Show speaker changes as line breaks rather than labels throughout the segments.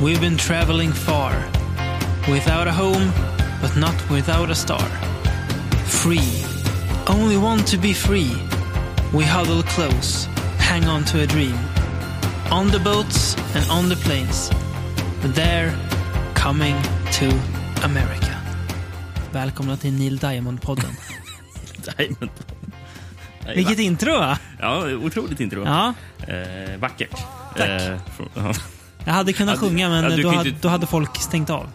We've been traveling far. Without a home, but not without a star. Free. Only want to be free. We huddle close, hang on to a dream. On the boats and on the planes. They're coming to America. Välkomna till Neil Diamond-podden.
Diamond. Nej,
Vilket
va-
intro va?
Ja, otroligt intro.
Ja,
Eh, vackert.
Tack.
Eh, från- ja,
jag hade kunnat
Ja, du-
sjunga men
ja, du
då,
kan
hade,
inte-
då hade folk stängt av.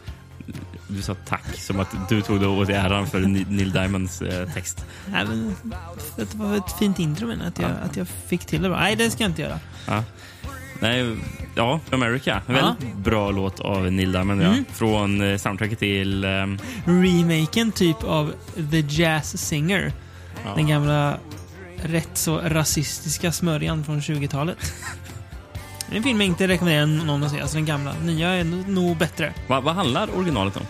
du sa tack, som att du tog det åt dig äran för Ni- Neil Diamonds eh, text.
Nej, men, det var ett fint intro men att jag, att jag fick till det bra. Nej, det ska jag inte göra.
Ja. Nej, ja, America. En
Ja. Mm.
väldigt bra låt av Neil Diamond. Ja. Från eh, soundtracket till... ehm,
Remaken typ av The Jazz Singer.
ja.
Den gamla rätt så rasistiska smörjan från 20-talet. Det är En film jag inte rekommenderar någon att se, alltså den gamla. Nya är nog bättre.
Va, vad handlar originalet om?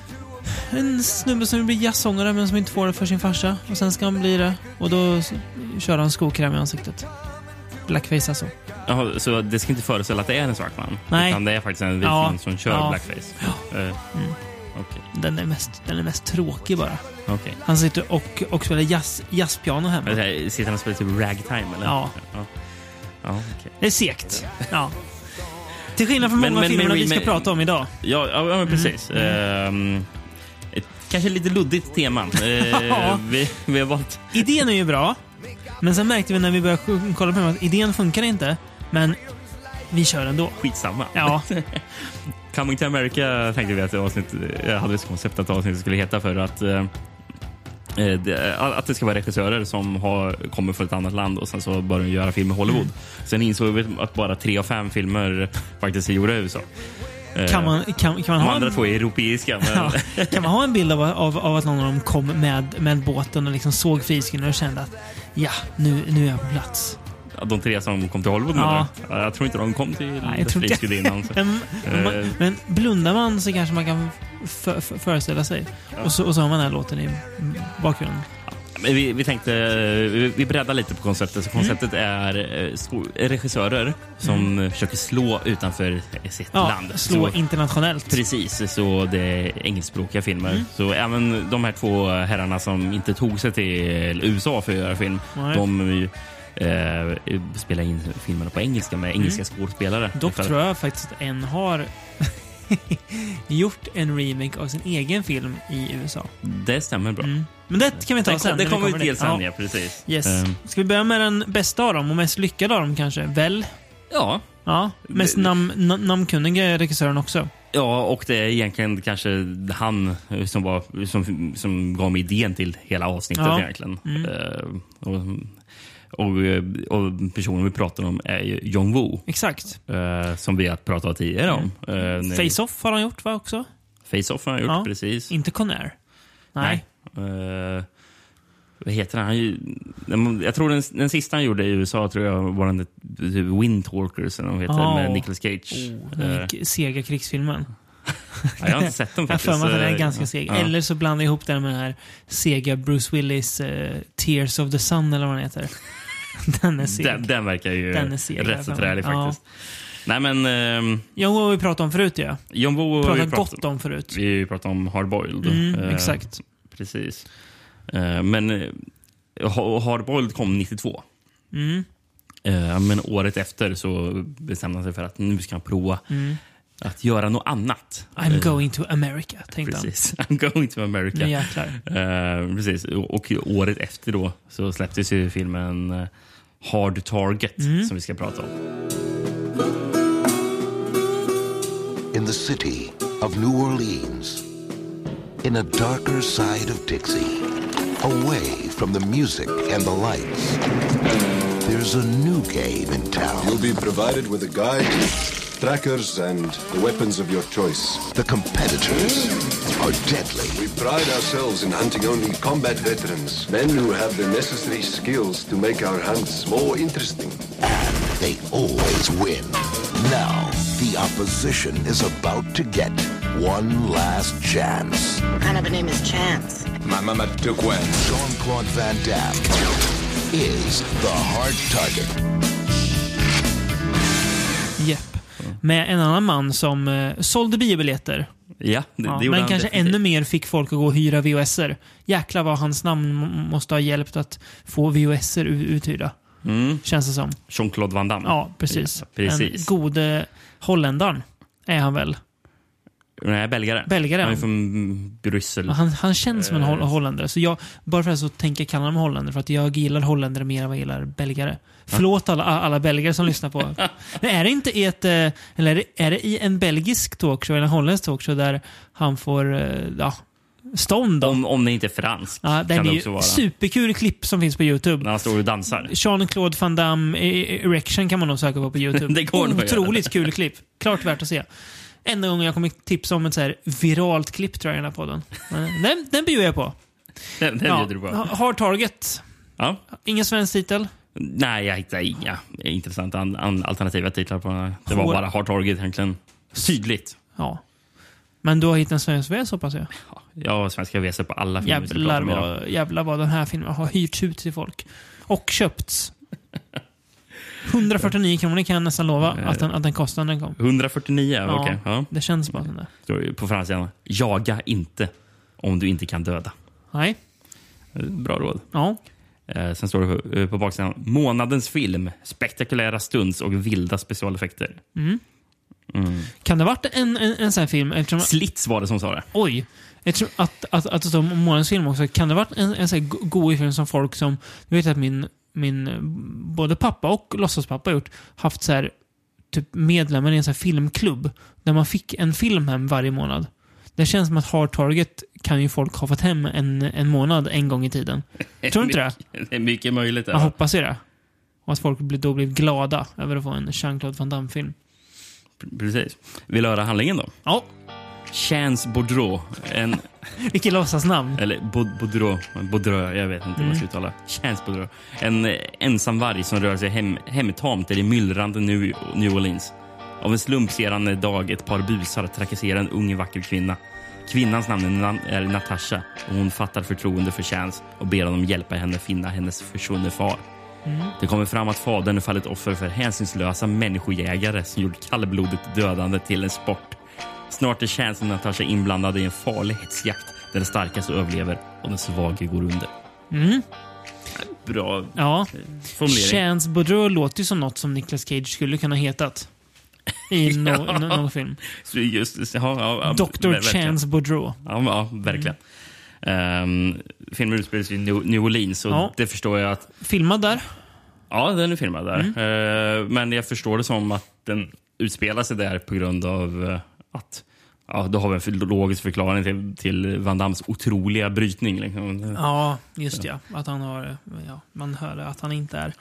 En snubbe som vill bli jazzsångare men som inte får det för sin farsa. Och sen ska han bli det. Och då s- kör han skokräm i ansiktet. Blackface alltså.
Jaha, så det ska inte föreställa att det är en svart man?
Nej.
Utan det är faktiskt en vit
Ja.
man som kör
Ja.
blackface? Ja.
Mm.
Okej.
Den är mest, den är mest tråkig bara.
okej.
Han sitter och, och spelar jazz, jazzpiano
Men det
hemma.
här, Sitter han och spelar typ ragtime? Eller?
Ja.
ja. ja okej.
Det är segt. Ja. Till skillnad från
Men-
många av
men- men-
filmerna vi ska
men-
prata om idag.
Ja, ja,
Mhm.
ja men precis.
Mm.
Ehm, ett, kanske lite luddigt tema.
Ja.
Ehm, vi, vi har valt...
Idén är ju bra, men sen märkte vi när vi började sj- kolla på den att idén funkar inte, men vi kör ändå.
Skitsamma.
Ja,
Coming to America tänkte vi att det avsnitt, jag hade ett koncept att avsnittet skulle heta för att eh, eh, det, att det ska vara regissörer som har, kommer från ett annat land och sen så börjar de göra film i Hollywood.
Mm.
Sen insåg vi att bara tre av fem filmer faktiskt är gjorda i USA. Eh,
kan man, kan, kan man,
de
ha,
andra
en,
två är europeiska. Men,
ja, kan man ha en bild av, av, av att någon av dem kom med, med båten och liksom såg fisken och kände att ja, nu, nu är jag på plats.
Ja, De tre som kom till Hollywood
Ja.
menar du? Ja, Jag tror inte de kom till
Nej, jag tror inte-
Friskid innan. Så.
Men,
Eh.
men, men blundar man så kanske man kan f- f- föreställa sig. Och så, och så har man den här låten i bakgrunden.
Men vi, vi tänkte, eh, vi- vi breddar lite på konceptet. Så
Mm.
konceptet är eh, sko- regissörer som eh, försöker slå utanför sitt
Mm. Ja,
land.
slå
så,
internationellt.
precis, så det är engelskspråkiga filmer.
Mm.
Så även de här två herrarna som inte tog sig till USA för att göra film,
Nej.
de eh, spelar in filmerna på engelska
Mm.
med engelska skådespelare.
Dock
Ifall-
tror jag faktiskt att en har gjort en remake av sin egen film i USA.
Det stämmer bra.
Mm. Men det kan vi ta
Det,
sen.
kom, det
när
kommer
vi
vi till sen,
Ja.
ja. Precis.
Yes.
Ehm,
Ska vi börja med den bästa av dem och mest lyckade av dem kanske? Väl?
ja.
Ja. Mest
Det-
nam, na, namnkunniga är regissören också.
Ja, och det är egentligen kanske han eh, som, var, som, som gav mig idén till hela avsnittet.
Ja. Mm.
egentligen. Eh, och, och, eh, och personen vi pratar om är ju John Woo,
Exakt.
eh, som vi har pratat tidigare om. Eh, när-
Face-Off har han gjort va också?
Face-Off har han gjort,
Mm. Ja.
precis.
Inte Conair. Nej.
Eh, vad heter han? han? är ju- när man- Jag tror den, den sista han gjorde i USA tror jag var den där Wind Talkers eller vad de heter,
Ja.
med Nicolas Cage.
Oh,
Eh,
den gick- sega krigsfilmen.
jag har inte sett
Jag
den
har
faktiskt.
för mig att den är
Eh,
ganska seg.
ja.
Eller så blandar jag ihop den med den här sega Bruce Willis eh, Tears of the Sun eller vad den heter. Den är seg.
Den, den verkar ju
Den är seg,
rätt så
den.
trälig
Ja.
faktiskt. Nej men, ehm,
John Woo har vi pratat om förut ju.
John Woo har vi
Pratat
pratat
gott om förut.
Vi har ju pratat om Hardboiled.
Mm,
Eh,
exakt.
Precis. Eh, men eh, Ha- Hardboiled kom 92.
Mm,
Eh, men året efter så bestämde han sig för att nu ska han prova
mm.
att göra något annat.
I'm
Eh,
going to America, tänkte han.
Precis. I'm going to America.
Nu jäklar.
Eh, precis. Och, och året efter då så släpptes ju filmen eh, Hard Target
Mm.
som vi ska prata om.
in the city of New Orleans, in a darker side of Dixie, away from the music and the lights. There's a new game in town.
You'll be provided with a guide, trackers, and the weapons of your choice.
The competitors are deadly.
We pride ourselves in hunting only combat veterans, men who have the necessary skills to make our hunts more interesting.
They always win. Now, the opposition is about to get one last chance.
What kind of a name is Chance?
My mama took one.
Jean-Claude Van Damme is the hard target.
Jepp. med en annan man som eh, sålde biobiljetter.
Ja, det,
Ja,
det gjorde
men
han
kanske
definitivt.
ännu mer fick folk att gå och hyra VHSer. Jäklar vad hans namn m- måste ha hjälpt att få VHSer u- uthyrda. Känns det som.
Jean-Claude Van Damme.
Ja, precis.
Mm. Ja, precis.
Den gode holländaren är han väl.
Nej, belgare.
Belgare.
Han är från Bryssel.
Han, han känns som en
Eh.
hol- holländare. Så jag, bara för att så tänker jag kalla honom holländare. För att jag gillar holländare mer än vad jag gillar belgare. Förlåt alla, alla belgare som lyssnar på. Men är det inte i ett, eh, eller är det, är det i en belgisk talkshow eller en holländsk talkshow där han får, eh, ja, stånd då?
Om, om det inte är fransk.
Ja, den
kan
är
det
ju
också vara.
superkul klipp som finns på YouTube.
När han står och dansar.
Jean-Claude Van Damme e- Erection kan man nog söka på på YouTube.
Det går nog att göra.
Otroligt kul klipp. Klart värt att se. Enda gången jag kommer tipsa om ett så här viralt klipp tror jag i den här podden. Men Den, den bjuder jag på.
Den, den bjuder du på.
Ha- Hard Target.
Ja.
Ingen svensk titel.
Nej, jag hittade inga intressanta an, an, alternativa titlar. på den här. Det var
Hår.
bara Hard Target egentligen. Tydligt.
Ja. Men du har hittat en svensk VS hoppas jag.
Ja, Jag har svenska WC på alla filmer vi skulle
Jävlar
prata om idag.
vad, jävlar vad den här filmen har hyrts ut till folk. Och köpts. 149 kronor kan jag nästan lova att den, att den kostade när den kom.
149,
Ja,
okej. Ja.
Det känns bara som det.
Står ju På franska, jaga inte om du inte kan döda.
Nej.
Eh, Bra råd.
Ja.
Eh, sen står det på- eh, på baksidan, månadens film, spektakulära stunts och vilda
Mm.
specialeffekter.
Kan det ha varit en, en, en sån här film? Eftersom,
Slits var det som sa det.
oj! Eftersom att, att, att det står månadens film också. Kan det ha varit en, en sån här go- god film som folk som... Du vet att min, min eh, både pappa och låtsaspappa har gjort. Haft så här, typ medlemmar i en sån här filmklubb. Där man fick en film hem varje månad. Det känns som att Hard Target kan ju folk ha fått hem en, en månad en gång i tiden. Tror du inte det?
Det är mycket möjligt.
Man
Där.
hoppas ju det. Och att folk blir- då blir glada över att få en Jean-Claude Van Damme-film.
Precis. Vill du höra handlingen då?
Ja,
Chance Baudreau. En,
vilket låtsasnamn.
eller Baud- Baudreau. Baudreau, jag vet inte hur man ska uttala. Chance Baudreau. En eh, ensam varg som rör sig hem, hemtamt i det myllrande New, New Orleans. Av en slump ser han en dag ett par busar trakassera en ung vacker kvinna. Kvinnans namn är Nan- är Natasha och hon fattar förtroende för Chance och ber honom hjälpa henne finna hennes försvunne far. Det kommer fram att fadern fallit offer för hänsynslösa människojägare som gjort kallblodigt dödande till en sport. Snart är chansen att Natasha inblandad i en farlig hetsjakt där den starkaste överlever och den svage går under. Bra
Ja.
formulering.
Chance Baudreau låter ju som något som Nicolas Cage skulle kunna hetat. I no, no, någon film.
Så Just, ja, ja, ja,
Dr.
ver- verkligen.
Chance Baudreau.
Ja, ja verkligen. Ehm, filmen utspelar sig i New, New Orleans och
Ja.
det förstår jag att...
Filmad där.
Ja, den är filmad där. Ehm, men jag förstår det som att den utspelar sig där på grund av eh, att... Ja, då har vi en för- logisk förklaring till, till Van Dams otroliga brytning. Liksom.
Ja, just ja. Att han har, ja, man hör att han inte är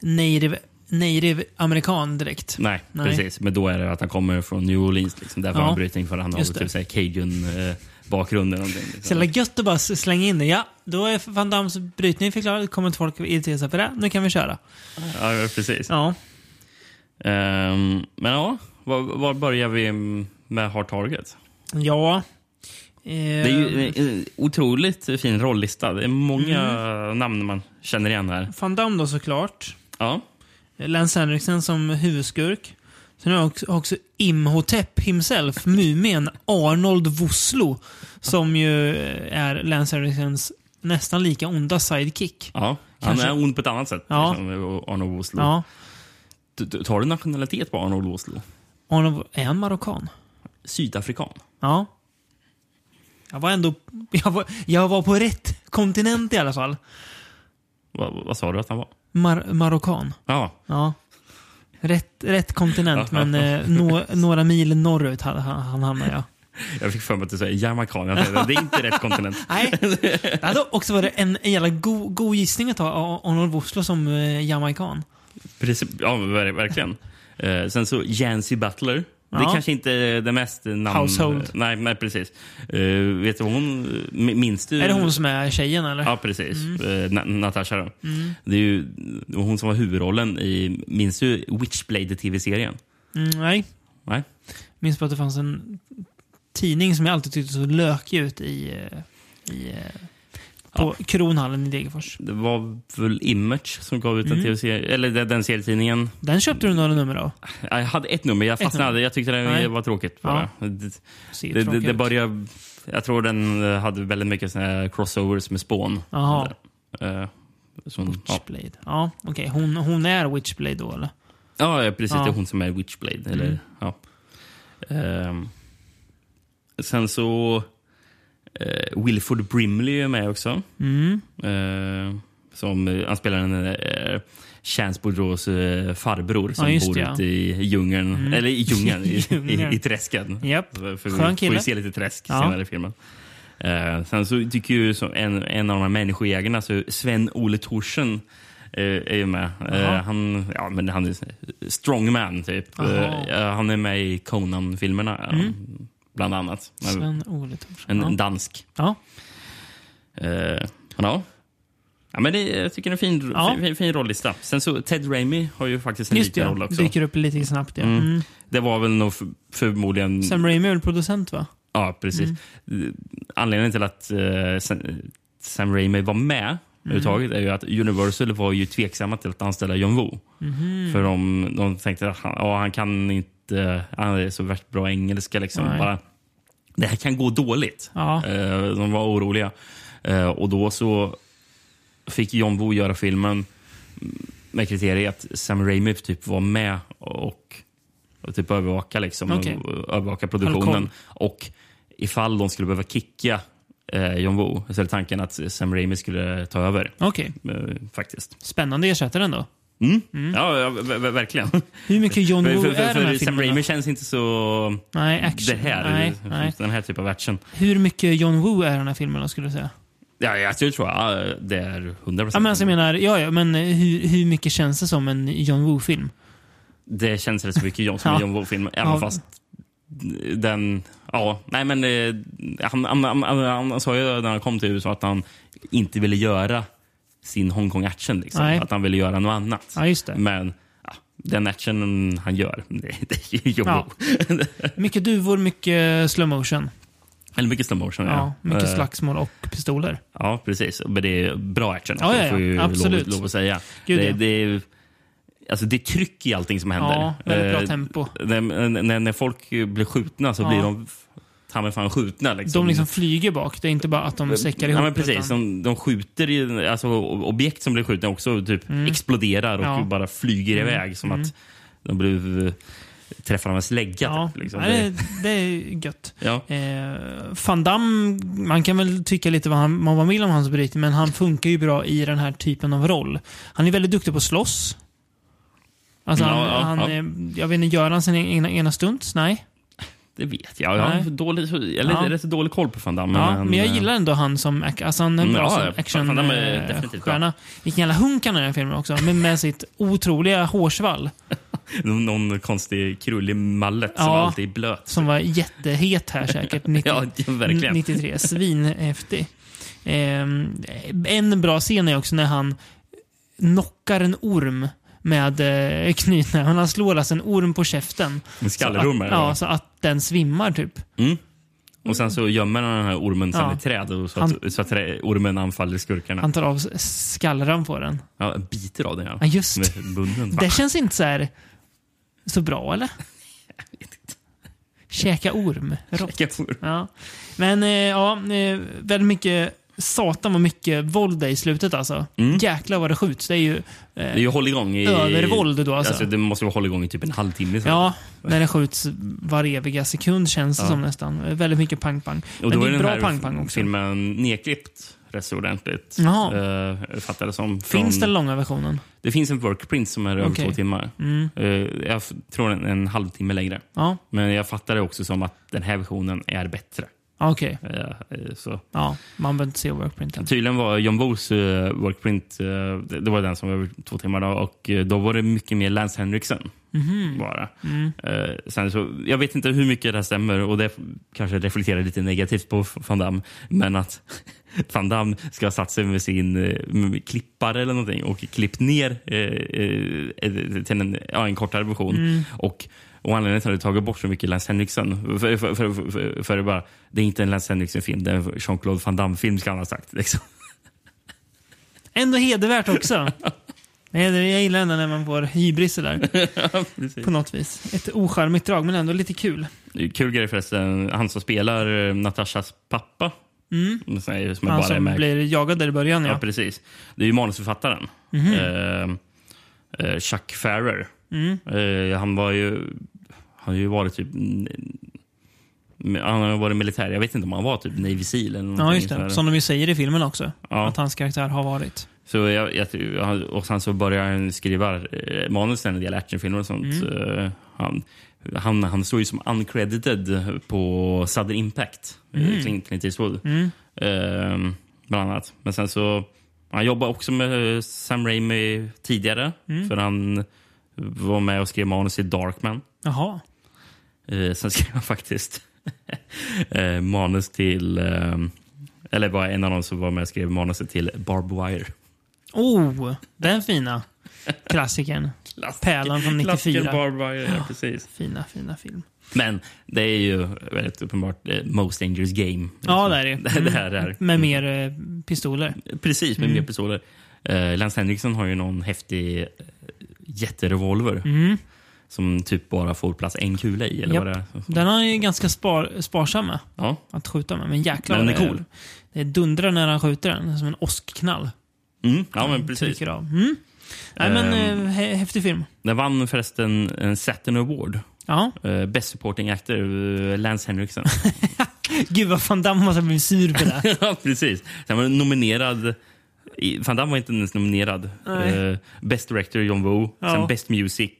native, native amerikan direkt.
Nej,
Nej.
precis. Men då är det att han kommer från New Orleans. Liksom. Där var
Ja.
han brytning för han har
Just det.
typ såhär cajun-bakgrund. eh, eller någonting,
Så
liksom.
jävla gött att bara s- slänga in det. Ja, då är Van Dams brytning förklarad. Kommer inte folk irritera sig för det? Nu kan vi köra.
Ja, precis.
Ja.
Ehm, men ja, var, var börjar vi med Hard Target?
Ja. Eh,
Det är ju en- en otroligt fin rollista. Det är många
Mm.
namn man känner igen här.
Van Damme då såklart.
Ja,
Lance Henriksen som huvudskurk. Sen har jag också, har också Imhotep himself, mumien Arnold Voslo, som ju är Lance Henriksens nästan lika onda sidekick.
ja. Han
Kanske-
är ond på ett annat sätt.
Ja.
Liksom, och Arnold Oslo.
Ja,
Du- du- Tar du nationalitet på Arnold Oslo?
Arnold är han marockan?
Sydafrikan?
Ja. Jag var ändå... Jag var, jag var på rätt kontinent i alla fall.
Vad, vad sa du att han var?
Mar- marockan.
Ja,
Ja. Rätt, rätt kontinent, men eh, nå- några mil norrut han, han, han hamnade jag.
jag fick för mig att du sa jamaican. Jag tänkte, Det är inte rätt kontinent.
Nej, det hade också varit en jävla god, god gissning att ha Arnold Voslo som eh, jamaican.
Precis, ja, men ver- verkligen. Eh, sen så Jancy Butler. Det
Ja.
kanske inte är det mest namn...
Household.
Nej, nej precis. Eh, vet du vad hon... mi- Minns du?
Är det hon som Mm. är tjejen eller?
Mm. Ja, precis. Eh, Na- Natasha då.
Mm.
Det är ju det var hon som var huvudrollen i... Minns du Witchblade-tv-serien?
Mm, nej.
Nej?
Minns bara att det fanns en tidning som jag alltid tyckte såg lökig ut i, eh, i eh, på Kronhallen i Degerfors.
Det var väl Image som gav ut en
Mm.
tv-serie, eller den, den serietidningen.
Den köpte du några nummer av.
Jag hade ett nummer, jag fastnade.
nummer.
Jag tyckte den
Nej.
var tråkigt.
Ja.
Bara. Det,
Ser
det, det,
tråkig
det
ut.
började, jag tror den eh, hade väldigt mycket såna här crossovers med Spawn.
Jaha.
Där. Eh, Som, ja.
Witchblade. Ja, okej. Hon, hon är Witchblade då eller?
Ja, ja, precis. Det
Ja. Mm.
är hon som är Witchblade. Eller, ja. Ehm, sen så... Eh, Wilford Brimley är med också.
Mm.
Ehm, som, eh, han spelar en eh, Chance Boudreaus eh, farbror som
Ja, just
bor
det, ja. Mm.
ute i djungeln. Eller i djungeln, i, i,
Djungeln.
i träsken.
Japp.
För,
Skön
vi får
kille.
ju se lite träsk
Ja.
senare i filmen. Eh, sen så tycker ju som en, en av de här människojägarna, så Sven-Ole Thorsen, eh, är ju med. Eh, han, ja, men han är strongman, typ.
Jaha.
Eh, han är med i Conan-filmerna, eh, bland annat.
Sven-Ole
En, en
Thorsen. Ja.
dansk.
ja.
Eh, ja. Ja, men det, jag tycker det är en fin,
Ja.
fin, fin rollista. Sen så, Ted Raimi har ju faktiskt en
Just det,
liten roll
ja.
också.
dyker upp lite snabbt. Ja. Mm.
Det var väl nog för, förmodligen...
Sam Raimi är väl producent va?
Ja, precis.
Mm.
Anledningen till att eh, Sam, Sam Raimi var med
Mm.
överhuvudtaget är ju att Universal var ju tveksamma till att anställa John Woo.
Mm-hmm.
För de, de tänkte att han, ja, han kan inte, han är så värst bra engelska. Liksom.
Nej.
Bara, det här kan gå dåligt.
Ja.
Eh, de var oroliga. Eh, och då så fick John Woo göra filmen med kriteriet att Sam Raimi typ var med och, och typ övervaka, liksom,
Okej.
och övervaka
Höll
produktionen.
koll.
Och ifall de skulle behöva kicka eh, John Woo så är det tanken att Sam Raimi skulle ta över.
Okej.
Eh, faktiskt.
Spännande ersättare ändå.
Mm. Ja, ja, ver- ver- verkligen.
Hur mycket John
För,
Woo
för,
är de här
för Sam Raimi
filmerna?
känns inte så...
Nej, action.
Det här,
Nej, nej.
Den här typen av action.
Hur mycket John Woo är i den här filmen då, skulle du säga?
Ja, jag tror tror jag det är 100
Ja, men alltså, jag menar, ja, ja, men hur, hur mycket känns det som en John Woo-film?
Det känns rätt så mycket John som
Ja.
en John Woo-film, även
Ja.
fast den... Ja, nej men eh, han, han, han, han, han sa ju när han kom till USA att han inte ville göra sin Hong Kong-action. Liksom.
Nej.
Att han ville göra något annat.
Ja, just det.
Men ja, den actionen han gör, det, det är ju John
Ja.
Woo.
Mycket duvor, mycket slow motion.
Eller mycket slow motion.
Ja, mycket
Eh,
slagsmål och pistoler.
Ja, precis. Men det är bra action också,
Ja, ja,
det får
ja.
ju
Absolut.
Lov, lov att säga.
Gud,
det,
ja.
det, är, alltså, det är tryck i allting som händer.
Ja, väldigt bra
Eh,
tempo.
När, när, när folk blir skjutna så
Ja.
blir de f- ta mig fan skjutna. Liksom.
De liksom flyger bak. Det är inte bara att de säckar ihop.
Eh, Ja, men precis.
utan-
De, de skjuter i, alltså, o- objekt som blir skjutna också typ exploderar och
Mm. Ja. Mm.
bara flyger iväg som att de blir eh, träffade av en slägga.
Ja,
typ, liksom.
nej, det, det är gött.
ja.
Eh, Van Damme, man kan väl tycka lite vad han, man vill om hans brytning, men han funkar ju bra i den här typen av roll. Han är väldigt duktig på att slåss. Alltså,
Ja,
han,
ja,
han,
ja.
eh, Jag vet inte, gör han sin ena, ena stunts? Nej.
Det vet jag. Jag har
Nej.
för dålig, eller,
Ja.
rätt så dålig koll på Van Damme.
Ja, men jag
eh,
gillar ändå han som, ac- alltså han är en
Mm,
bra
ja,
som
ja. Van Damme är definitivt bra.
actionstjärna. Vilken jävla hunk han är i den här filmen också, men med sitt otroliga hårsvall
eh, Någon, någon konstig krullig mallet som
Ja.
alltid är blöt.
som var jättehet här säkert. 90,
Ja, verkligen.
93. Svinhäftig. Ehm, en bra scen är också när han knockar en orm med eh, knytnäven. Han slår alltså en orm på käften.
Med skallerormar?
Så att, ja, så att den svimmar typ.
Och sen så gömmer han den här ormen sen
Ja.
i träd och så att, så att trä, ormen anfaller skurkarna.
Han tar av s- skallran på den.
ja, biter av den ja.
Ja, just.
Med munnen.
Det känns inte så här så bra, eller? Käka orm. Rått.
Vilken orm.
Ja. Men eh, ja, eh, väldigt mycket Satan vad mycket våld det är i slutet alltså. Jäklar vad det skjuts. Det är ju,
Det är ju hålligång i...
Övervåld då, alltså.
Det måste vara hålligång i typ en halvtimme. så.
ja, när det skjuts var eviga sekund känns det
Ja.
som nästan. Eh, Väldigt mycket pang-pang.
och
Men
då
det
är
är
den
bra
här
pang-pang också.
filmen nedklippt rätt så ordentligt.
Jaha.
Eh, fattar det som. Från-
Finns den långa versionen?
det finns en workprint som är över
Okej. Mm.
två timmar. Eh, jag f- tror en, en halvtimme längre.
Ja,
Men jag fattar det också som att den här versionen är bättre.
Ja, okej.
Eh, eh, så.
Ja, man behöver inte se workprinten.
Tydligen var John Boos eh, workprint, eh, det, det var den som var över två timmar då, och eh, då var det mycket mer Lance Henriksen. Bara. Eh, sen så, jag vet inte hur mycket det här stämmer och det kanske reflekterar lite negativt på van Damme. Men att van Damme ska ha satt sig med sin eh, med klippare eller någonting och klippt ner eh, eh, till en, ja, en kortare version. Och och anledningen till att det tagit bort så mycket Lance Henriksen, för, för, för, för, för det, är bara, det är inte en Lance Henriksen-film, det är en Jean-Claude Van Damme-film ska han ha sagt. Liksom.
Ändå hedervärt också. Nej, det- Jag gillar ändå när man får hybris där.
Precis.
På något vis. Ett ocharmigt drag, men ändå lite kul.
Det är Kul grej förresten, han som spelar eh, Natashas pappa. Mm. Som är
Han
bara är
som
med.
blir jagad där i början,
Ja,
ja. Mhm.
precis. Det är ju manusförfattaren. Eh, eh, Chuck Farrer.
Mm.
Eh, han var ju... Han har ju varit typ... Han har varit militär. Jag vet inte om han var typ Navy Seal eller
Ja,
någonting
just
sådär.
det. Som de ju säger i filmen också.
Ja.
Att hans karaktär har varit.
Så jag, jag, han- och sen så började han skriva eh, manusen, en del actionfilmer och sånt. Eh, Han, han, han står ju som uncredited på Southern Impact, mm. Clint, Clint Eastwood. Eh, bland annat. Men sen så... Han jobbade också med eh, Sam Raimi tidigare. För han var med och skrev manus i Darkman.
Jaha.
Eh, sen skrev han faktiskt eh, manus till... Eh, eller var en av dem som var med och skrev manuset till Barb Wire.
Oh, den fina klassikern. Pärlan från 94.
Klassiken Barb Wire, ja, precis.
Fina, fina film.
Men det är ju väldigt uppenbart eh, Most Dangerous Game. liksom.
Ja, det är det. Mm.
det här är.
Med mer eh, pistoler.
Precis, med mer pistoler. Eh, Lance Henriksen har ju någon häftig eh, jätterevolver. Som typ bara får plats en kula i. Eller
Mm. Japp.
vad det är.
Den har han ju ganska spar, sparsam med
Ja,
att skjuta med. Men jäklar
Men
vad
den är cool.
Det, det dundrar när han skjuter den. Som en åskknall.
mm. ja men precis.
Trycker av. Mm. Nej, men
Ehm.
eh, hä- häftig film.
Den vann förresten en Saturn Award.
Ja.
Eh, Best Supporting Actor, eh, Lance Henriksen.
Gud vad fan Damme måste ha blivit sur på det.
ja, precis. Sen var den nominerad... i- Van Damme var inte ens nominerad.
Nej.
Eh, Best Director, John Woo.
Ja.
Sen Best Music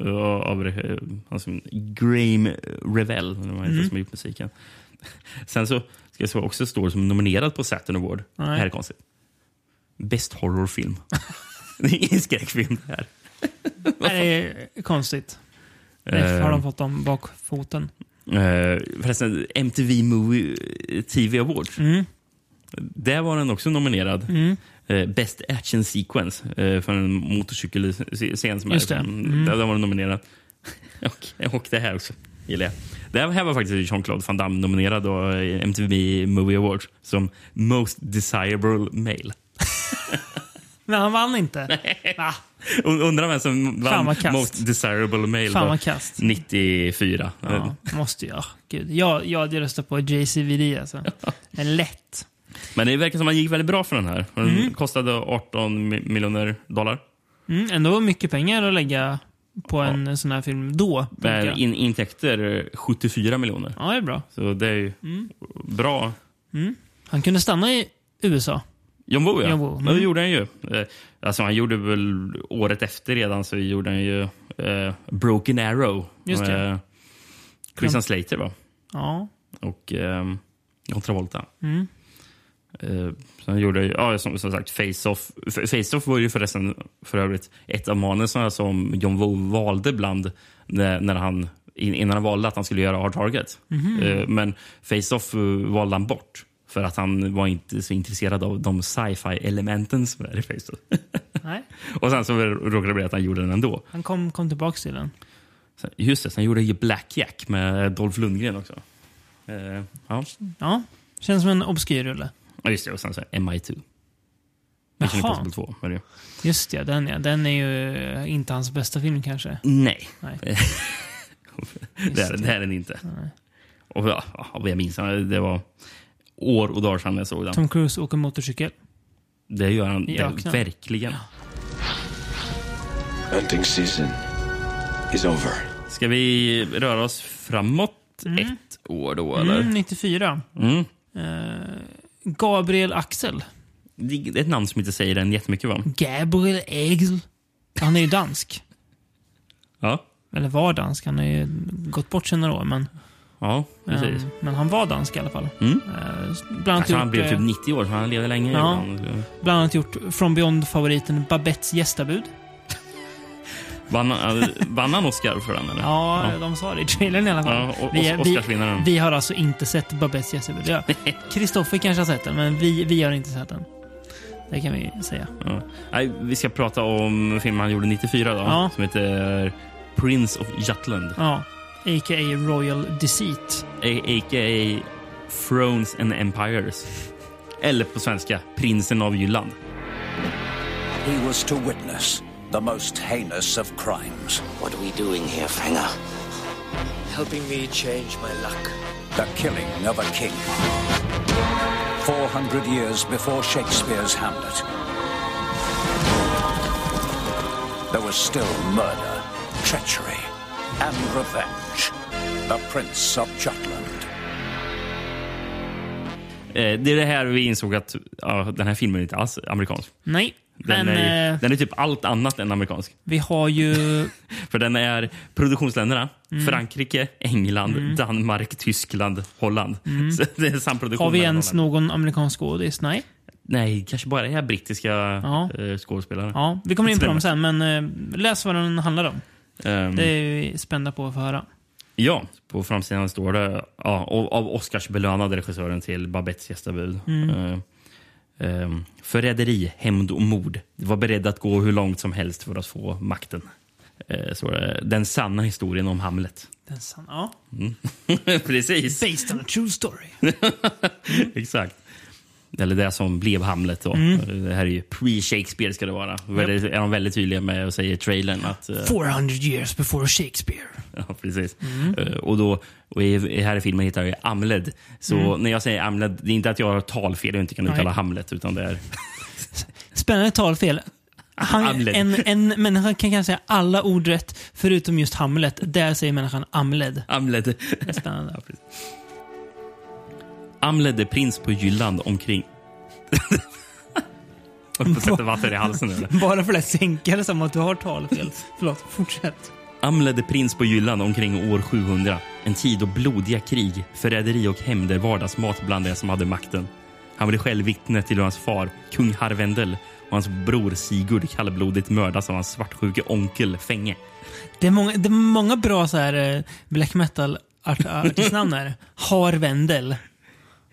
eh, av eh, alltså, Graham Revell, eller vad han heter,
Mm.
som har gjort musiken. Sen så ska jag säga också står som nominerad på Saturn Award.
Nej.
Det här är konstigt. Best Horrorfilm. det är ingen skräckfilm det här.
Nej, det är konstigt. Det
Ehm.
har de fått dem bakfoten.
Eh, förresten, MTV Movie eh, TV Awards.
Mm.
Där var den också nominerad. Eh, Best Action Sequence eh, för en motorcykelscen. Som
Just
är,
det. Mm.
Där där var den nominerad. och, och det här också gillar jag. Det här var faktiskt Jean-Claude Van Damme nominerad eh, då, i MTV Movie Awards som Most Desirable Male.
Men han vann inte. Va?
Und- Undrar vem som
Fan
vann
vad kast.
Most Desirable Male
Fan
då,
vad kast.
94.
Ja, måste jag. Gud. Jag, jag hade röstat på JCVD alltså. Men lätt.
Men det verkar som att han gick väldigt bra för den här. Den kostade 18 mi- miljoner dollar.
Mm, ändå mycket pengar att lägga på en sån här film då. tänker
Men
jag.
in, intäkter eh, 74 miljoner.
Ja, det är bra.
Så det är ju
Mm.
bra.
Han kunde stanna i USA.
John Woo, ja.
John Woo,
Men det
mm.
gjorde han ju. Eh, Alltså han gjorde väl året efter redan så gjorde han ju eh, Broken Arrow.
Just det.
Eh, Christian Slater va?
Ja. Mm.
Och eh, John Travolta. Eh, sen gjorde jag, ja, som, som sagt, Face-Off. F- Face-Off var ju förresten för övrigt ett av manusen som John Woo valde bland när, när han, in- innan han valde att han skulle göra Hard Target. Eh, men Face-Off eh, valde han bort för att han var inte så intresserad av de sci-fi elementen som är i Face-Off.
Nej.
Och sen så råkade det bli att han gjorde den ändå.
Han kom, kom tillbaka till den.
Sen, just det, sen gjorde han ju Black Jack med Dolph Lundgren också. Eh, ja.
Ja. Känns som en obskyr rulle.
ja, just det. Och sen så MI2. Mission
Jaha.
Impossible 2. Var det. ju.
Just ja, den ja. Den är ju eh, inte hans bästa film kanske.
Nej.
Nej.
det, är, det är den inte. Och ja, ja, vad jag minns, det var år och dagar sedan jag såg den.
Tom Cruise åker motorcykel.
Det gör han
I
det,
öknen.
verkligen.
Hunting season is over.
Ska vi röra oss framåt ett år då, eller? Mm.
Mm, 94. Eh, Gabriel Axel.
Det det är ett namn som inte säger en jättemycket, va?
Gabriel Axel. Han är ju dansk.
Ja,
Eller var dansk. Han har ju gått bort sig några år. Men,
ja precis.
eh, men han var dansk i alla fall. Eh, bland, annat
Alltså,
gjort,
han blev typ
eh,
90 år, så han levde länge.
Ja.
ibland.
bland annat gjort From Beyond-favoriten Babettes gästabud.
Vann, han- vann han Oscar för den? Eller?
Ja, de sa det i trailern i alla fall.
Ja, och-
vi,
och-
vi,
Oscarsvinnaren.
vi har alltså inte sett Babettes gästabud. Ja, Kristoffer kanske har sett den, men vi, vi har inte sett den. Det kan vi säga.
Ja. Nej, vi ska prata om filmen han gjorde 94 då,
Ja.
som heter Prince of Jutland.
Ja, a.k.a. Royal Deceit.
A- A.k.a. Thrones and Empires. Eller på svenska, Prinsen av Jylland.
He was to witness the most heinous of crimes.
What are we doing here, Fenger?
Helping me change my luck.
The killing of a king. 400 years before Shakespeare's Hamlet. There was still murder, treachery, and revenge. The Prince of Jutland.
Eh, Det är det här vi insåg att ja, den här filmen är inte alls amerikansk.
Nej,
Den,
men
är,
eh,
den är typ allt annat än amerikansk.
vi har ju...
För den är produktionsländerna
Mm.
Frankrike, England, Danmark, Tyskland, Holland. Så det är
Mm.
samproduktion.
Har vi
mellan
ens
Holland.
någon amerikansk skådis? Nej.
Nej, kanske bara är brittiska
Ja.
eh, skådespelare.
Ja, vi kommer in på
Stämmer.
dem sen, men eh, läs vad den handlar om.
Ehm,
Det är vi spända på att få höra.
Ja, på framsidan står det ja, av av Oscarsbelönade regissören till Babettes gästabud. Eh, ehm, förräderi, hämnd och mord. Det var beredd att gå hur långt som helst för att få makten. Eh, så, eh, den sanna historien om Hamlet.
Den sann- ja.
Precis.
Based on a true story.
Exakt. Eller det som blev Hamlet. Då. Det här är ju pre-Shakespeare ska det vara. Väldigt, är de väldigt tydliga med och säger i trailern. Att, eh,
400 years before Shakespeare.
ja, precis. Eh, och då, och i, i här i filmen hittar jag Amled. Så när jag säger Amled, det är inte att jag har talfel och inte kan
Nej.
uttala Hamlet. Utan det är,
Spännande talfel. Han,
Amled.
en, en människa kan kanske säga alla ord rätt, förutom just Hamlet. Där säger människan Amled.
Amled.
Det är spännande.
Amled är prins på Jylland omkring... Har du fått sätta vatten i halsen eller?
Bara för att sänka det som att du har talfel. Förlåt, fortsätt.
Amled är prins på Jylland omkring år 700. En tid då blodiga krig, förräderi och hämnder vardagsmat bland de som hade makten. Han blev själv vittne till hur hans far, kung Harvendel och hans bror Sigurd kallblodigt mördas av hans svartsjuke onkel Fänge.
Det är många, det är många bra så här, eh, black metal-artistnamn här. Har Wendel.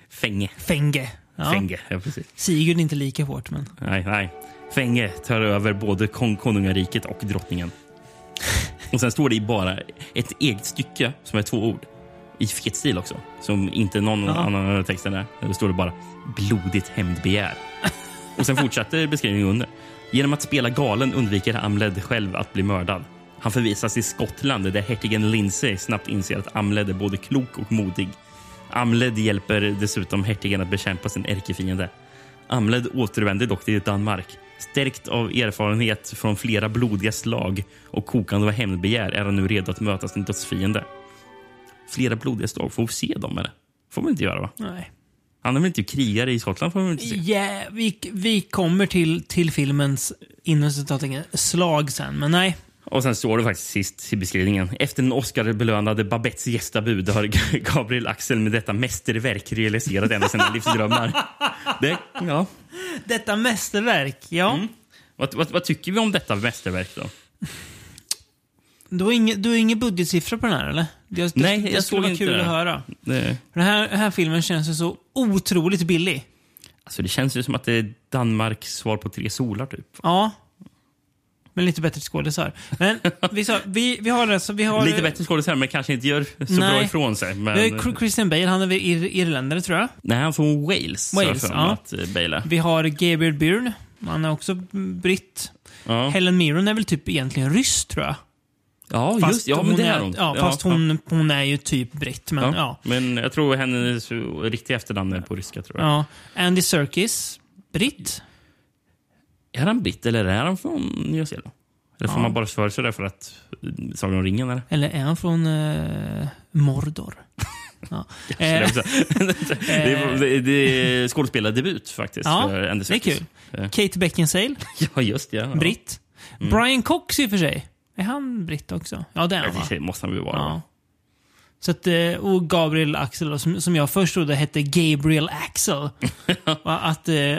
Fänge.
Fänge. Ja.
Fänge, ja precis.
Sigurd inte lika hårt, men...
Nej, nej. Fänge tar över både kon- konungariket och drottningen. Och sen står det i bara ett eget stycke som är två ord. I fet stil också. Som inte någon annan av texten är. Där står det bara blodigt hämndbegär. Och sen fortsätter beskrivningen under. Genom att spela galen undviker Amled själv att bli mördad. Han förvisas till Skottland där hertigen Lindsay snabbt inser att Amled är både klok och modig. Amled hjälper dessutom hertigen att bekämpa sin ärkefiende. Amled återvänder dock till Danmark. Stärkt av erfarenhet från flera blodiga slag och kokande av hämndbegär är han nu redo att möta sin dödsfiende. Flera blodiga slag, får vi se dem eller? Får man inte göra va?
Nej.
Han är väl inte krigare i Skottland? Får man inte se.
Yeah, vi, vi kommer till, till filmens inom citattecken slag sen, men nej.
Och sen står det faktiskt sist i beskrivningen. Efter den Oscar-belönade Babettes gästabud har Gabriel Axel med detta mästerverk realiserat en av sina livsdrömmar. Det, ja.
Detta mästerverk, ja.
vad, vad, vad tycker vi om detta mästerverk då?
Du har, ing, du har ingen budgetsiffra på den här, eller? Det, det,
Nej,
det skulle
jag såg
vara
inte
kul
det.
att höra.
Det,
För den här, den här filmen känns ju så otroligt billig.
alltså det känns ju som att det är Danmarks svar på Tre solar typ.
Ja. Men lite bättre skådisar. Men vi, sa, vi, vi har alltså... Vi har,
Lite bättre skådisar men kanske inte gör så bra
Nej.
ifrån sig. Men,
Vi har Christian Bale, han är väl ir, irländare tror jag.
nej, han är från Wales. har jag
Wales,
för mig
ja.
Att eh, Bale är.
Vi har Gabriel Byrne, han är också britt.
Ja.
Helen Mirren är väl typ egentligen ryss tror jag.
ja, just ja, men
hon
det är hon.
Ja, fast hon, hon är ju typ britt. Men,
ja.
ja. Ja.
Men jag tror hennes riktiga efternamn är på ryska tror jag.
Andy Serkis, britt.
Är han britt eller är han från Nya Zeeland? Eller får man bara för sig det för att eh, Sagan om ringen? Eller?
Eller är han från eh, Mordor? ja. Eh,
det, är, det, det är skådespelardebut faktiskt.
Ja,
för Andy
det är
Serkis.
kul. Kate Beckinsale,
Ja, just det. Ja. Mm.
britt. Brian Cox i och för sig. Är han britt också? Ja, det är han va?
Ja, det måste han väl vara.
Ja.
Ja.
Så att, eh, och Gabriel Axel, då, som, som jag först trodde hette Gabriel Axel. Va, att, eh,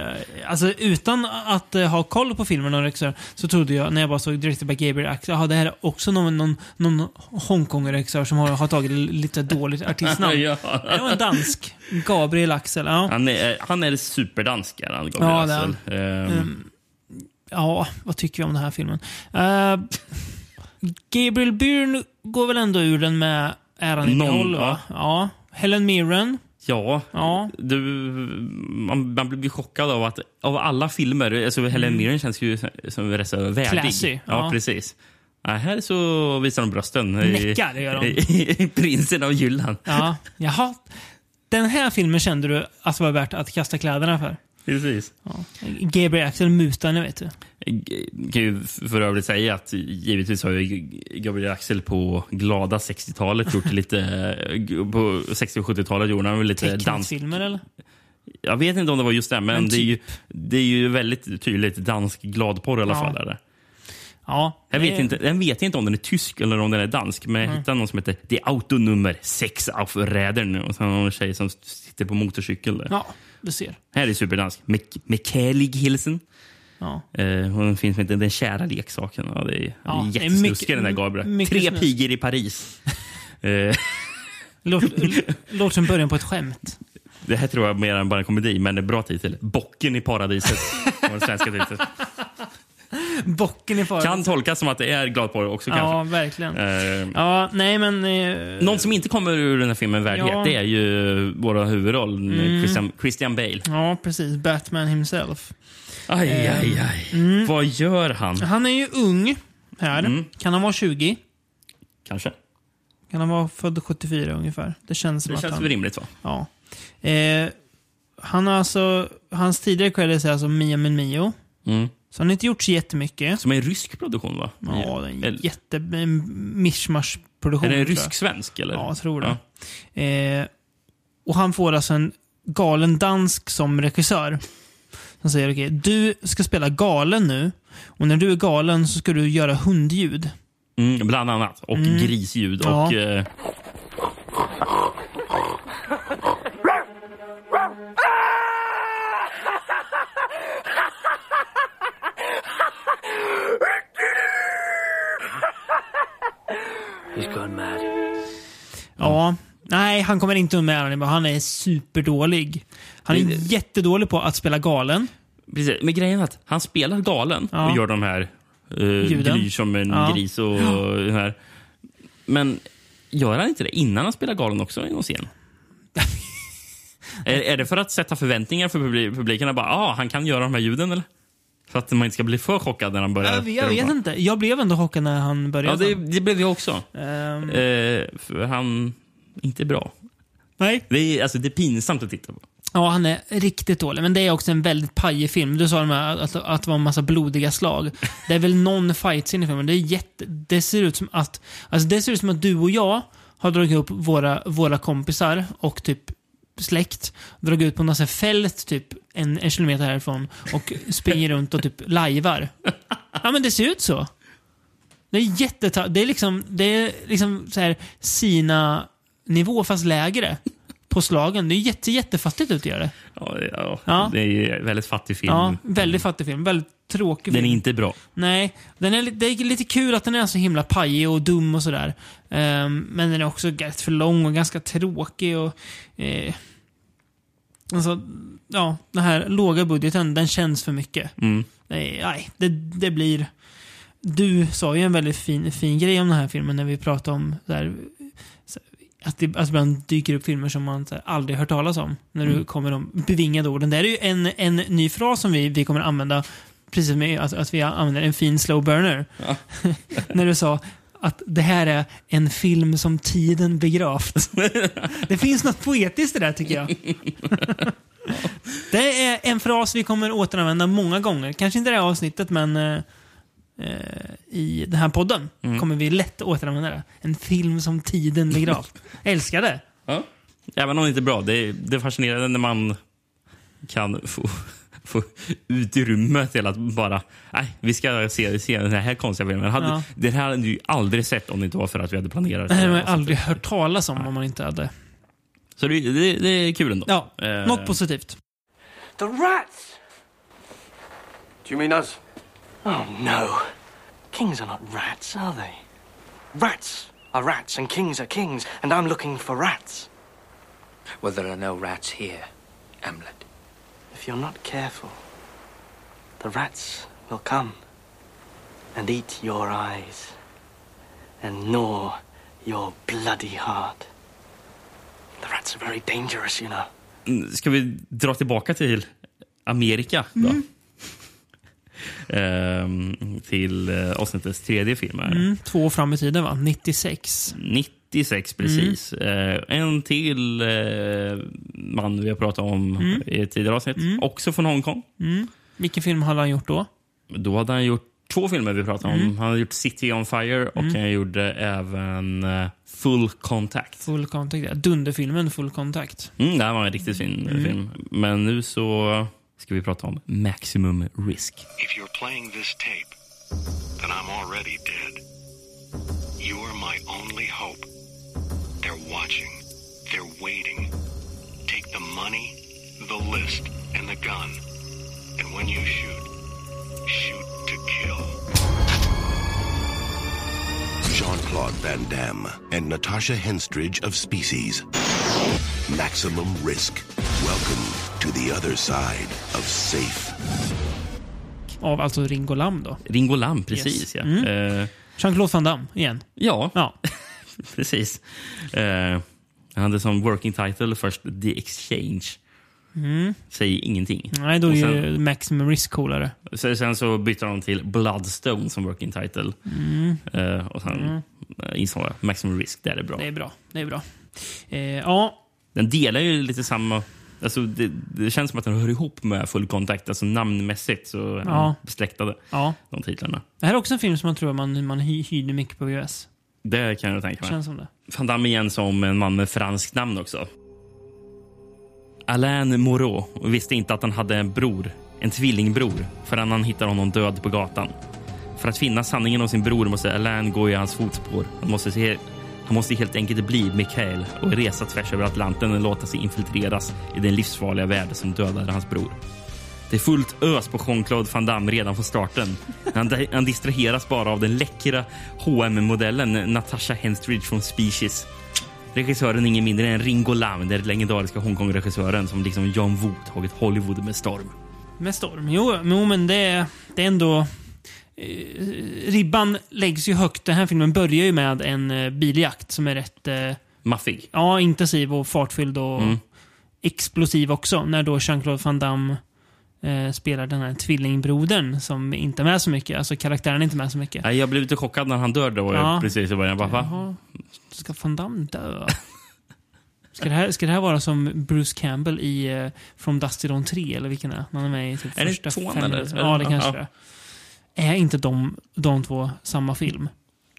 alltså, utan att eh, ha koll på filmen och regissör så trodde jag, när jag bara såg Directed by Gabriel Axel, aha, det här är också någon, någon, någon Hongkong-regissör som har, har tagit lite dåligt artistnamn.
Ja.
Det var en dansk. Gabriel Axel. Ja,
Han, är, eh, han är superdansk, är han,
Ja,
Gabriel
det är Mm.
Axel. Ehm,
ja vad tycker vi om den här filmen? Eh, Gabriel Byrne går väl ändå ur den med äran i
Någon,
behåll, va? Ja. Helen Mirren.
Ja,
Ja.
Du, man, man blir chockad av att av alla filmer, alltså Helen Mirren känns ju som rätt så värdig.
Mm. Classy,
Ja,
ja.
precis. Ja, här så visar de brösten.
Näckar, det gör de.
I, i Prinsen av Jylland.
Ja, jaha. Den här filmen kände du att det var värt att kasta kläderna för?
Precis.
Gabriel Axel Mutane, vet du.
Eh, kan ju för övrigt säga att givetvis har ju Gabriel Axel på glada 60-talet gjort lite... eh, På 60 och 70-talet gjorde han väl lite dans...
Teckningsfilmer eller?
Jag vet inte om det var just det, men,
Men typ-
det, är ju, det är ju väldigt tydligt dansk gladporr i alla
Ja.
fall. Är det.
Ja.
Jag vet,
det- Mm.
inte, jag vet inte om den är tysk eller om den är dansk, men jag hittade någon som heter Det Autonummer 6 auf Rädern. Och sen har en tjej som sitter på motorcykel. Där.
Ja, du ser.
Här är superdansk. Mek- Mekelig Hilsen.
Ja.
Eh, och den finns med Den kära leksaken. Ja, det är,
Ja,
ja,
det är mycket-
jättesnuskig den där Gabriel.
mycket
Tre
snusk.
pigor i Paris. Eh,
Låter, låter som början på ett skämt.
det här tror jag mer än bara en komedi, men det är bra titel. Bocken i paradiset. var den svenska titeln.
Bocken i fara.
Kan tolkas som att det är gladporr också
Ja,
kanske.
verkligen.
Eh,
Ja, nej men... Eh,
Någon som inte kommer ur den här filmen värdighet,
Ja. Mm.
det är ju våra huvudroll, Christian, Christian Bale.
Ja, precis. Batman himself.
Aj, aj, aj. Eh, Vad gör han?
Han är ju ung här.
Mm.
Kan han vara 20?
Kanske.
Kan han vara född 74 ungefär? Det känns som
Det
att
känns
han...
väl rimligt, va?
Ja. Eh, han har alltså, hans tidigare credits är alltså Mia min Mio.
Mm.
Så han har inte gjort så jättemycket.
Som är en rysk produktion, va?
Ja, det är en
Eller-
jätte mishmash
Är
produktion
det en rysk-svensk? eller?
Ja, jag tror det. Eh, och han får alltså en galen dansk som regissör. Som säger okej, du ska spela galen nu. Och när du är galen så ska du göra hundljud.
Mm, bland annat. Och grisljud.
Ja.
Och, eh,
He's gone mad.
Ja. Nej, han kommer inte med den. Han är superdålig. Han är
Det-
jättedålig på att spela galen.
precis. Men grejen är att han spelar galen
Ja.
och gör de här eh,
Ljuden.
gryr som en
Ja.
gris och, och det här. Men gör han inte det innan han spelar galen också i någon scen? är, är det för att sätta förväntningar för publi- publiken? Att bara, ah, han kan göra de här ljuden eller? För att man inte ska bli för chockad när han börjar.
Äh, Jag, jag vet
trumma.
inte. Jag blev ändå chockad när han
Äh, Ja,
började.
det, det blev jag också.
Ehm,
Eh, för han... Inte bra.
nej.
Det är, alltså, det är pinsamt att titta på.
Ja, han är riktigt dålig. Men det är också en väldigt pajig film. Du sa de här, att, att det var en massa blodiga slag. Det är väl någon fight i filmen. Det, är jätte, det ser ut som att alltså det ser ut som att du och jag har dragit upp våra, våra kompisar och typ släkt, dragit ut på något sånt här fält typ en, en kilometer härifrån och springer runt och typ lajvar. Ja, men det ser ut så. Det är jätteta... Det är liksom, det är liksom så här Sina-nivå fast lägre på slagen. Det är jätte, jättefattigt ut att göra det.
Ja, ja,
Ja.
Det är ju en väldigt fattig film.
Ja, väldigt fattig film. Väldigt tråkig
Den är
film.
inte bra.
Nej, den är, li- det är lite kul att den är så himla pajig och dum och sådär. Ehm, men den är också rätt för lång och ganska tråkig och... eh, alltså, ja, den här låga budgeten, den känns för mycket.
Mm.
Nej, nej det, det blir... Du sa ju en väldigt fin, fin grej om den här filmen när vi pratade om så här, så- att det att ibland dyker upp filmer som man så här, aldrig hört talas om. När du kommer de bevingade orden. Det är ju en, en ny fras som vi, vi kommer använda precis med att, att vi använder en fin slow burner. när du sa att det här är en film som tiden begravt. det finns något poetiskt i det där tycker jag. det är en fras vi kommer återanvända många gånger. Kanske inte i det här avsnittet men eh, eh, i den här podden kommer vi lätt återanvända det. En film som tiden begravt. Älskar det.
Ja. Även om det inte är bra. Det är, det är fascinerande när man kan få, få utrymme till att bara... Nej, vi ska se, se den här konstiga filmen. Hade,
Ja.
Den här hade du ju aldrig sett om det inte var för att vi hade planerat.
Det här har
det.
jag aldrig hört talas om om man inte hade...
Så det, det, det är kul ändå.
Ja,
Eh,
något positivt.
The rats!
Do you mean us?
Oh no. Kings are not rats, are they? Rats are rats, and kings are kings, and I'm looking for rats.
Well, there are no rats here, Hamlet.
If you're not careful, the rats will come and eat your eyes and gnaw your bloody heart. The rats are very dangerous, you know.
Ska vi dra tillbaka till Amerika? Då?
Mm.
Ehm, till eh, avsnittets tredje film. Här.
Mm, två år fram i tiden, va? 96.
96 precis. Eh, en till eh, man vi har pratat om
Mm.
i ett tidigare avsnitt. Också från Hongkong.
Vilken film hade han gjort då?
Då hade han gjort två filmer vi pratade
Mm.
om. Han hade gjort City on Fire och han gjorde även eh, Full Contact.
Full Contact. ja. Dunderfilmen Full Contact.
Mm, det här var en riktigt fin
Mm.
film. Men nu så ska vi prata om Maximum Risk.
If you're playing this tape, then I'm already dead. You're my only hope. They're watching. They're waiting. Take the money, the list, and the gun. And when you shoot, shoot to kill.
Jean Claude Van Damme and Natasha Henstridge of Species. Maximum risk. Welcome to the other side of safe.
Av alltså Ringo Lam då.
Ringo Lam, precis.
Yes.
Ja.
Mm.
Eh,
Jean-Claude Van Damme igen.
ja.
Ja.
precis. Eh, han hade som working title först The Exchange. Säger ingenting.
Mm. Nej, då är
Och
ju Maximum Risk coolare.
sen, sen så bytte de till Bloodstone som working title.
Mm.
Eh, och sen eh, insåg jag Maximum Risk, där är bra.
Det är bra. Det är bra. Eh, ja,
Den delar ju lite samma... Alltså det, det känns som att den hör ihop med Full Contact, alltså namnmässigt. Så är de
Ja.
besläktade,
ja.
de titlarna.
Det här är också en film som jag tror man, man hy- hyrde mycket på VHS.
Det kan jag tänka mig.
Känns som det.
Van Damme igen som en man med franskt namn också. Alain Moreau visste inte att han hade en bror, en tvillingbror, förrän han hittar honom död på gatan. För att finna sanningen om sin bror måste Alain gå i hans fotspår. Han måste, se, han måste helt enkelt bli Mikael och resa tvärs över Atlanten och låta sig infiltreras i den livsfarliga värld som dödade hans bror. Det är fullt ös på Jean-Claude Van Damme redan från starten. Han, han distraheras bara av den läckra hm modellen Natasha Henstridge från Species. Regissören är ingen mindre än Ringo Lam, den legendariska Hongkong-regissören som liksom John Woo tagit Hollywood med storm.
Med storm. Jo, jo men det, är- det är ändå... Eh, ribban läggs ju högt. Den här filmen börjar ju med en eh, biljakt som är rätt eh,
Maffig.
ja, intensiv och fartfylld och
Mm.
explosiv också. När då Jean-Claude Van Damme eh, spelar den här tvillingbrodern som inte är med så mycket. Alltså karaktären är inte med så mycket.
Nej, Jag blev lite chockad när han dör då,
Ja.
precis i början. Bara, va?
Jaha, ska Van Damme dö? Ska det, här, ska det här vara som Bruce Campbell i eh, From Dusty Dawn 3 eller vilken det är? Man är med i typ
Är det
första
tvåan,
fem
eller?
minuterna. Ja, det
Ja,
kanske
ja.
det är. Är inte de, de två samma film?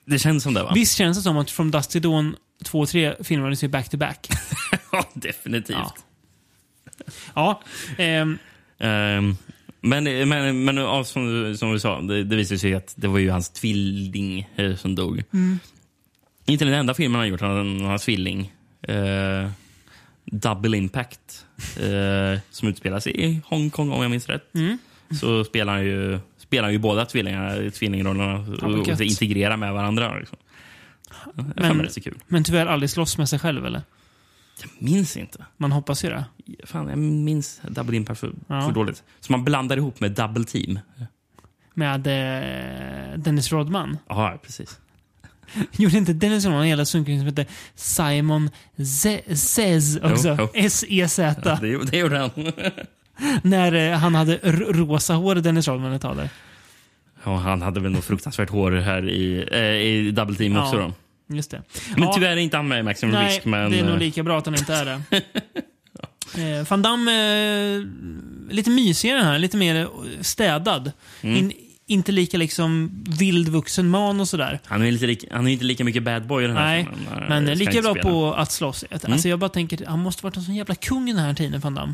Det känns som det, va?
Visst känns det som att From Dusty Dawn 2 och 3 filmades ju back to back?
ja, definitivt.
Ja. Ja, ehm,
Ehm, men men, men ja, som, som vi sa, det, det visade sig att det var ju hans tvilling eh, som dog.
Mm.
Inte den enda filmen han gjort, han hans tvilling. Eh, Double Impact, eh, som utspelar sig i Hongkong om jag minns rätt.
Mm.
Så spelar han ju, spelar han ju båda tvillingarna, tvillingrollerna
Ja, men
och,
gött.
och integrerar med varandra. Liksom. Jag
Men-
men, det är så kul.
men tyvärr aldrig slåss med sig själv eller?
Minns inte.
Man hoppas ju det.
Fan, jag minns Double Impact för,
Ja.
för dåligt. Så man blandar ihop med Double Team.
Med eh, Dennis Rodman.
Ja, precis.
Gjorde inte Dennis Rodman en jävla sunkring som hette Simon Ze- Says
jo.
också? S-E-Z.
Det, gjorde- det gjorde han.
När eh, han hade r- rosa hår, Dennis Rodman, ett tag där.
Ja, han hade väl något fruktansvärt hår här i, eh, i Double Team också. Då.
Just det.
Men
Ja,
tyvärr är inte han med i Maximum
nej,
Risk. Men,
det är nog
eh,
lika bra att han inte är det. Eh, Van Damme, eh, lite mysigare den här. Lite mer eh, städad.
Mm.
In, inte lika liksom vildvuxen man och sådär.
han, är lite, lik- han är inte lika mycket bad boy i den här
Nej,
filmen. Eh,
men
ska
eh, lika
inte
bra
spela.
på att slåss. Att- Alltså jag bara tänker, han måste varit en sån jävla kung i den här tiden, Van Damme.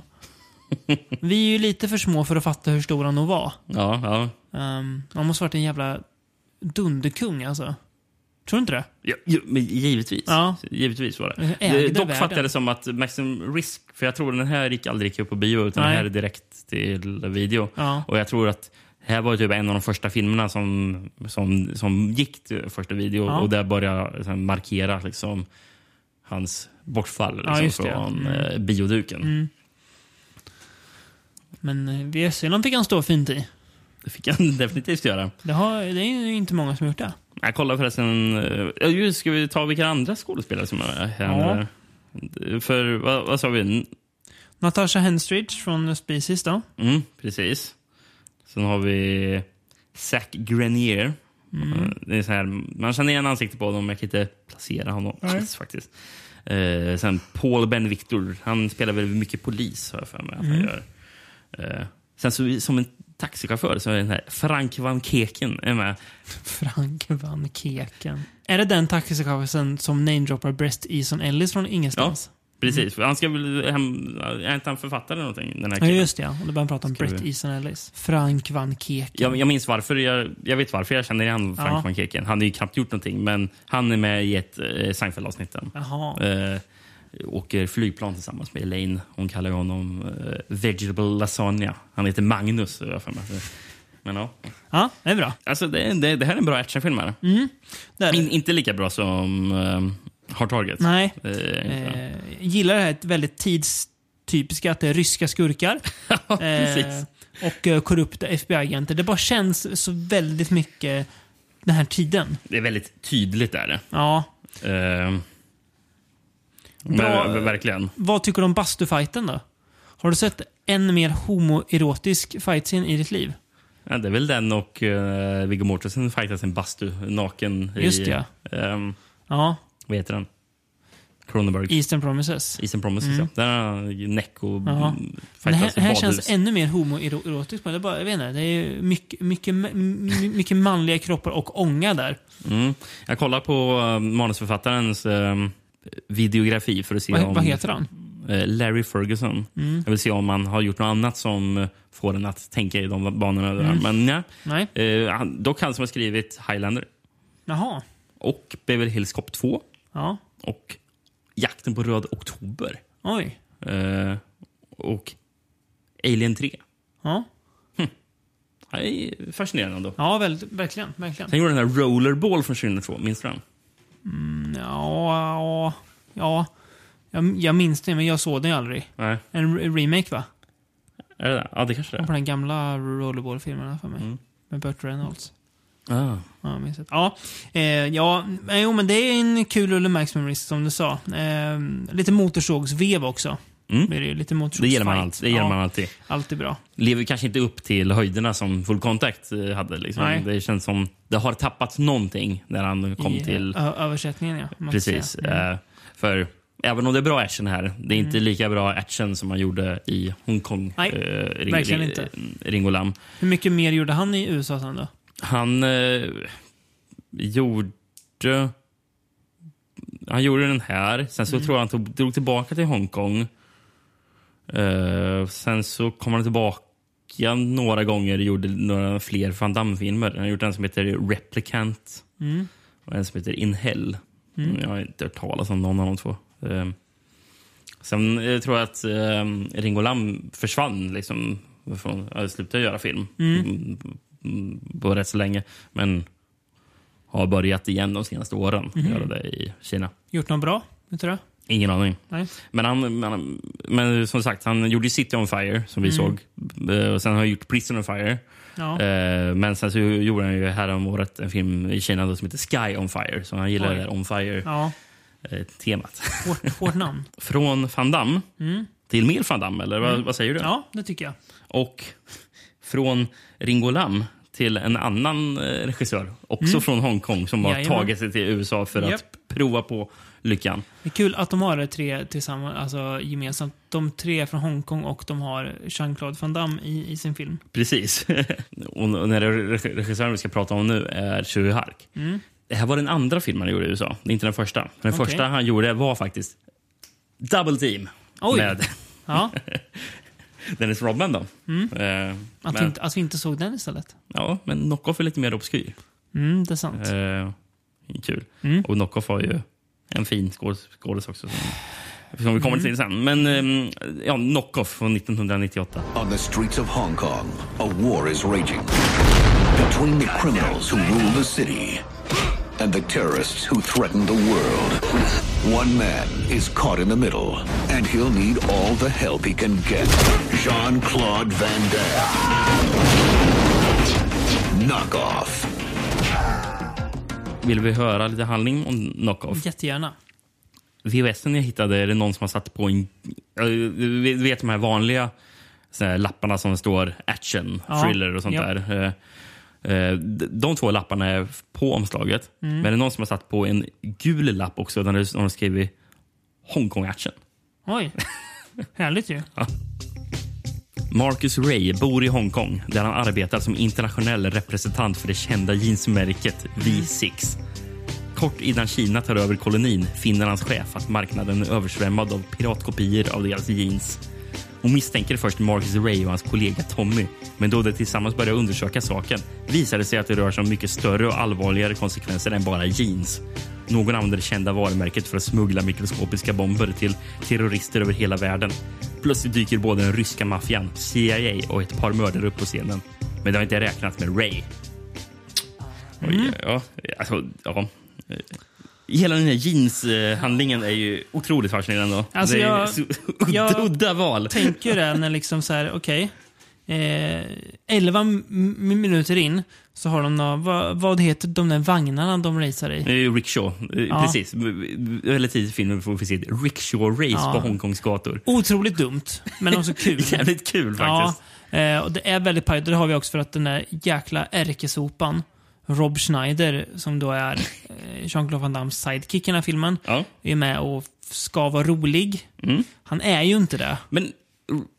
Vi är ju lite för små för att fatta hur stor han nog var.
Ja, ja.
Ehm, han måste varit en jävla dunderkung alltså. Tror du inte det?
Ja, ju- men givetvis.
Ja.
Givetvis var det.
Ägde
det dock
världen.
fattade jag det som att Maximum Risk, för jag tror den här gick aldrig gick upp på bio utan
Nej.
den här är direkt till video.
Ja.
Och jag tror att det här var typ en av de första filmerna som, som, som gick till första video
Ja.
och där började jag liksom markera liksom, hans bortfall liksom,
Ja, just det.
från
Mm.
eh, bioduken.
Men eh, VSC-lan fick han stå fint i.
Det fick han definitivt göra.
Det, har, det är ju inte många som har gjort det.
Jag kollar förresten... eh, ja, just, ska vi ta vilka andra skådespelare som är här?
Ja.
För vad, vad sa vi?
Natasha Henstridge från Species då.
Mm, precis. Sen har vi Zack Grenier. Eh,
Mm.
Det är så här, man känner igen ansiktet på honom, men jag kan inte placera honom
Nej.
alls faktiskt. Eh, sen Paul Ben Victor. Han spelar väl mycket polis, har jag för mig att han
Mm.
gör. Eh, sen så, som en taxichaufför så är den här Frank Van Keken är med.
Frank van Keken. Är det den taxichauffören som namedroppar Brest Eason Ellis från ingenstans?
Precis. Han ska väl hem, är inte han författare eller någonting? Den här
Ja,
killen?
just det. ja. Och då börjar han prata om
Ska
Brett
vi-
Easton Ellis. Frank van Keken.
Jag, jag minns varför. Jag, jag vet varför jag känner igen Frank
Ja.
van Keken. Han har ju knappt gjort någonting, men han är med i ett eh, Seinfeld-avsnitt. där.
Jaha.
Eh, åker flygplan tillsammans med Elaine. Hon kallar honom eh, Vegetable Lasagna. Han heter Magnus, har jag för mig. Men ja.
Ja, det är bra.
Alltså, det, det, det här är en bra actionfilm. Här.
Mm. det är det.
In, inte lika bra som eh, Hard Target.
Nej.
Eh, inte bra.
Eh, gillar det här väldigt tidstypiska, att det är ryska skurkar.
precis.
och eh, korrupta FBI-agenter. Det bara känns så väldigt mycket den här tiden.
Det är väldigt tydligt. Är det.
Ja.
Eh,
Bra.
Men, verkligen.
Vad tycker du om bastufighten då? Har du sett en mer homoerotisk fightscene i ditt liv?
Ja, det är väl den och eh, Viggo Mortensen fightas i en bastu, naken.
Just
i,
det,
ehm,
Ja,
vad heter den? Cronenberg.
Eastern Promises.
Eastern Promises,
Mm.
ja. Där liksom. har Neck och
Ja. Det
fightas
här,
i
här
badhus.
känns ännu mer homoerotiskt. men Det är, bara, jag vet inte, det är mycket, mycket, my- mycket manliga kroppar och ånga där.
Mm. Jag kollar på eh, manusförfattarens ehm, videografi för att se
Vad,
om...
vad heter han?
Eh, Larry Ferguson.
Mm.
Jag vill se om han har gjort något annat som eh, får en att tänka i de banorna. Där.
Mm.
Men nej.
Nej.
Eh, han, dock han som har skrivit Highlander
Jaha.
och Beverly Hills Cop 2
Ja.
och Jakten på röd oktober.
Oj.
Eh, och Alien 3.
Ja,
Han är fascinerande ändå.
ja väl, verkligen. verkligen.
Sen gjorde han den här Rollerball från 2002. Minns du den?
Mm, ja, ja, ja. Jag, jag minns det, men jag såg den ju aldrig.
Nej.
En re- remake, va?
Är det det? Ja, det kanske det
På
är.
den gamla Rollerball-filmen för mig.
Mm.
Med Burt Reynolds.
Ah.
Ja, jag minns det. Ja, eh, ja men, jo, men det är en kul Ulle Max Memories, som du sa. Eh, lite motorsågsvev också.
Mm.
Det, är ju lite
Det
motorsågsfight.
gillar, man alltid. det gillar
ja,
man alltid.
Alltid bra.
Lever kanske inte upp till höjderna som Full Contact eh, hade.
Nej.
Liksom. Det känns som det har tappat någonting när han kom
I,
till...
ö- översättningen, ja. måste
Precis.
säga. Mm.
Eh, För även om det är bra action här, det är inte
Mm.
lika bra action som man gjorde i Hongkong.
Nej,
eh, Ring-
verkligen
Ring-
inte.
Ringo Lam.
Hur mycket mer gjorde han i USA sen då?
Han eh, gjorde... Han gjorde den här. Sen
Mm.
så tror jag han tog, drog tillbaka till Hongkong. Eh, sen så kom han tillbaka några gånger och gjorde några fler Van Damme-filmer. Han har gjort en som heter Replicant
Mm.
och en som heter In Hell.
Mm.
Jag har inte hört talas om någon av de två. Eh, sen eh, tror jag att eh, Ringo Lam försvann. Liksom, från, jag slutade göra film
Mm.
Mm, på rätt så länge. Men har börjat igen de senaste åren
Mhm.
göra det i Kina.
Gjort något bra, vet du det?
Ingen aning.
Nej.
Men, han, men, men som sagt, han gjorde ju City on Fire som vi
Mm.
såg. Eh, Och sen har han gjort Prison on Fire.
Ja.
Eh, Men sen så gjorde han ju häromåret en film i Kina då som heter Sky on Fire. Så han gillar
Oj.
det där on
ja.
fire-temat.
Hårt, hårt namn.
Från Van Damme
Mm.
till mer Van Damme, eller vad, vad säger du?
Ja, det tycker jag.
Och från Ringo Lam till en annan eh, regissör, också
Mm.
från Hongkong, som har
Jajamän.
tagit sig till USA för att
Japp.
prova på lyckan.
Det är kul att de har det tre tillsammans, alltså gemensamt. De tre är från Hongkong och de har Jean-Claude Van Damme i, i sin film.
Precis. och när det är reg- regissören vi ska prata om nu är Chu Hark.
Mm.
Det här var den andra filmen han gjorde i USA, inte den första. Den
Okej.
första han gjorde var faktiskt Double Team
Oj.
med
Ja,
Dennis Rodman. Då.
Mm.
Eh,
att, vi
men,
inte, att vi inte såg den istället.
ja, men Knockoff är lite mer obskyr.
Mm, det är sant.
Eh, kul.
Mm.
Och Knockoff har ju en fin skådis skådis också. Som, som vi
Mm.
kommer till sen. Men ehm, ja, Knockoff från 1998.
On the streets of Hong Kong, a war is raging between the criminals who rule the city and the terrorists who threaten the world. One man is caught in the middle, and he'll need all the help he can get. Jean Claude Van Damme. Knockoff.
Vill vi höra lite handling om Knockoff?
Jättegärna.
VHSen jag hittade är det någon som har satt på en... ja, Du vet de här vanliga såna här lapparna som står action,
Ja.
thriller och sånt
Ja.
där. Eh, eh, d- De två lapparna är på omslaget.
Mm.
Men det är någon som har satt på en gul lapp också där de- de skriver Hongkong action.
Oj. Härligt ju.
Marcus Ray bor i Hongkong där han arbetar som internationell representant för det kända jeansmärket V6. Kort innan Kina tar över kolonin finner hans chef att marknaden är översvämmad av piratkopior av deras jeans. Hon misstänker först Marcus Ray och hans kollega Tommy men då de tillsammans börjar undersöka saken visar det sig att det rör sig om mycket större och allvarligare konsekvenser än bara jeans. Någon använder det kända varumärket för att smuggla mikroskopiska bomber till terrorister över hela världen. Plötsligt dyker både den ryska maffian, CIA och ett par mördare upp på scenen. Men det har inte räknat med Ray.
Mm.
Oj, ja, alltså, ja. Hela den här jeans-handlingen är ju otroligt fascinerande.
Alltså,
det är
jag-
så-
jag-
udda val.
tänker det när liksom så här, okej. eh, 11 m- minuter in så har de nå, vad, vad heter de där vagnarna de racear i?
Eh, Rickshaw, Eh,
Ja.
precis. Väldigt tidigt i filmen får vi se ett rickshaw-race
Ja.
på Hongkongs gator.
Otroligt dumt, men också kul.
Jävligt kul faktiskt.
Ja, eh, och det är väldigt pajigt. Det har vi också för att den där jäkla ärkesopan, Rob Schneider, som då är eh, Jean-Claude Van Dammes sidekick i den här filmen, är med och ska vara rolig.
Mm.
Han är ju inte det.
Men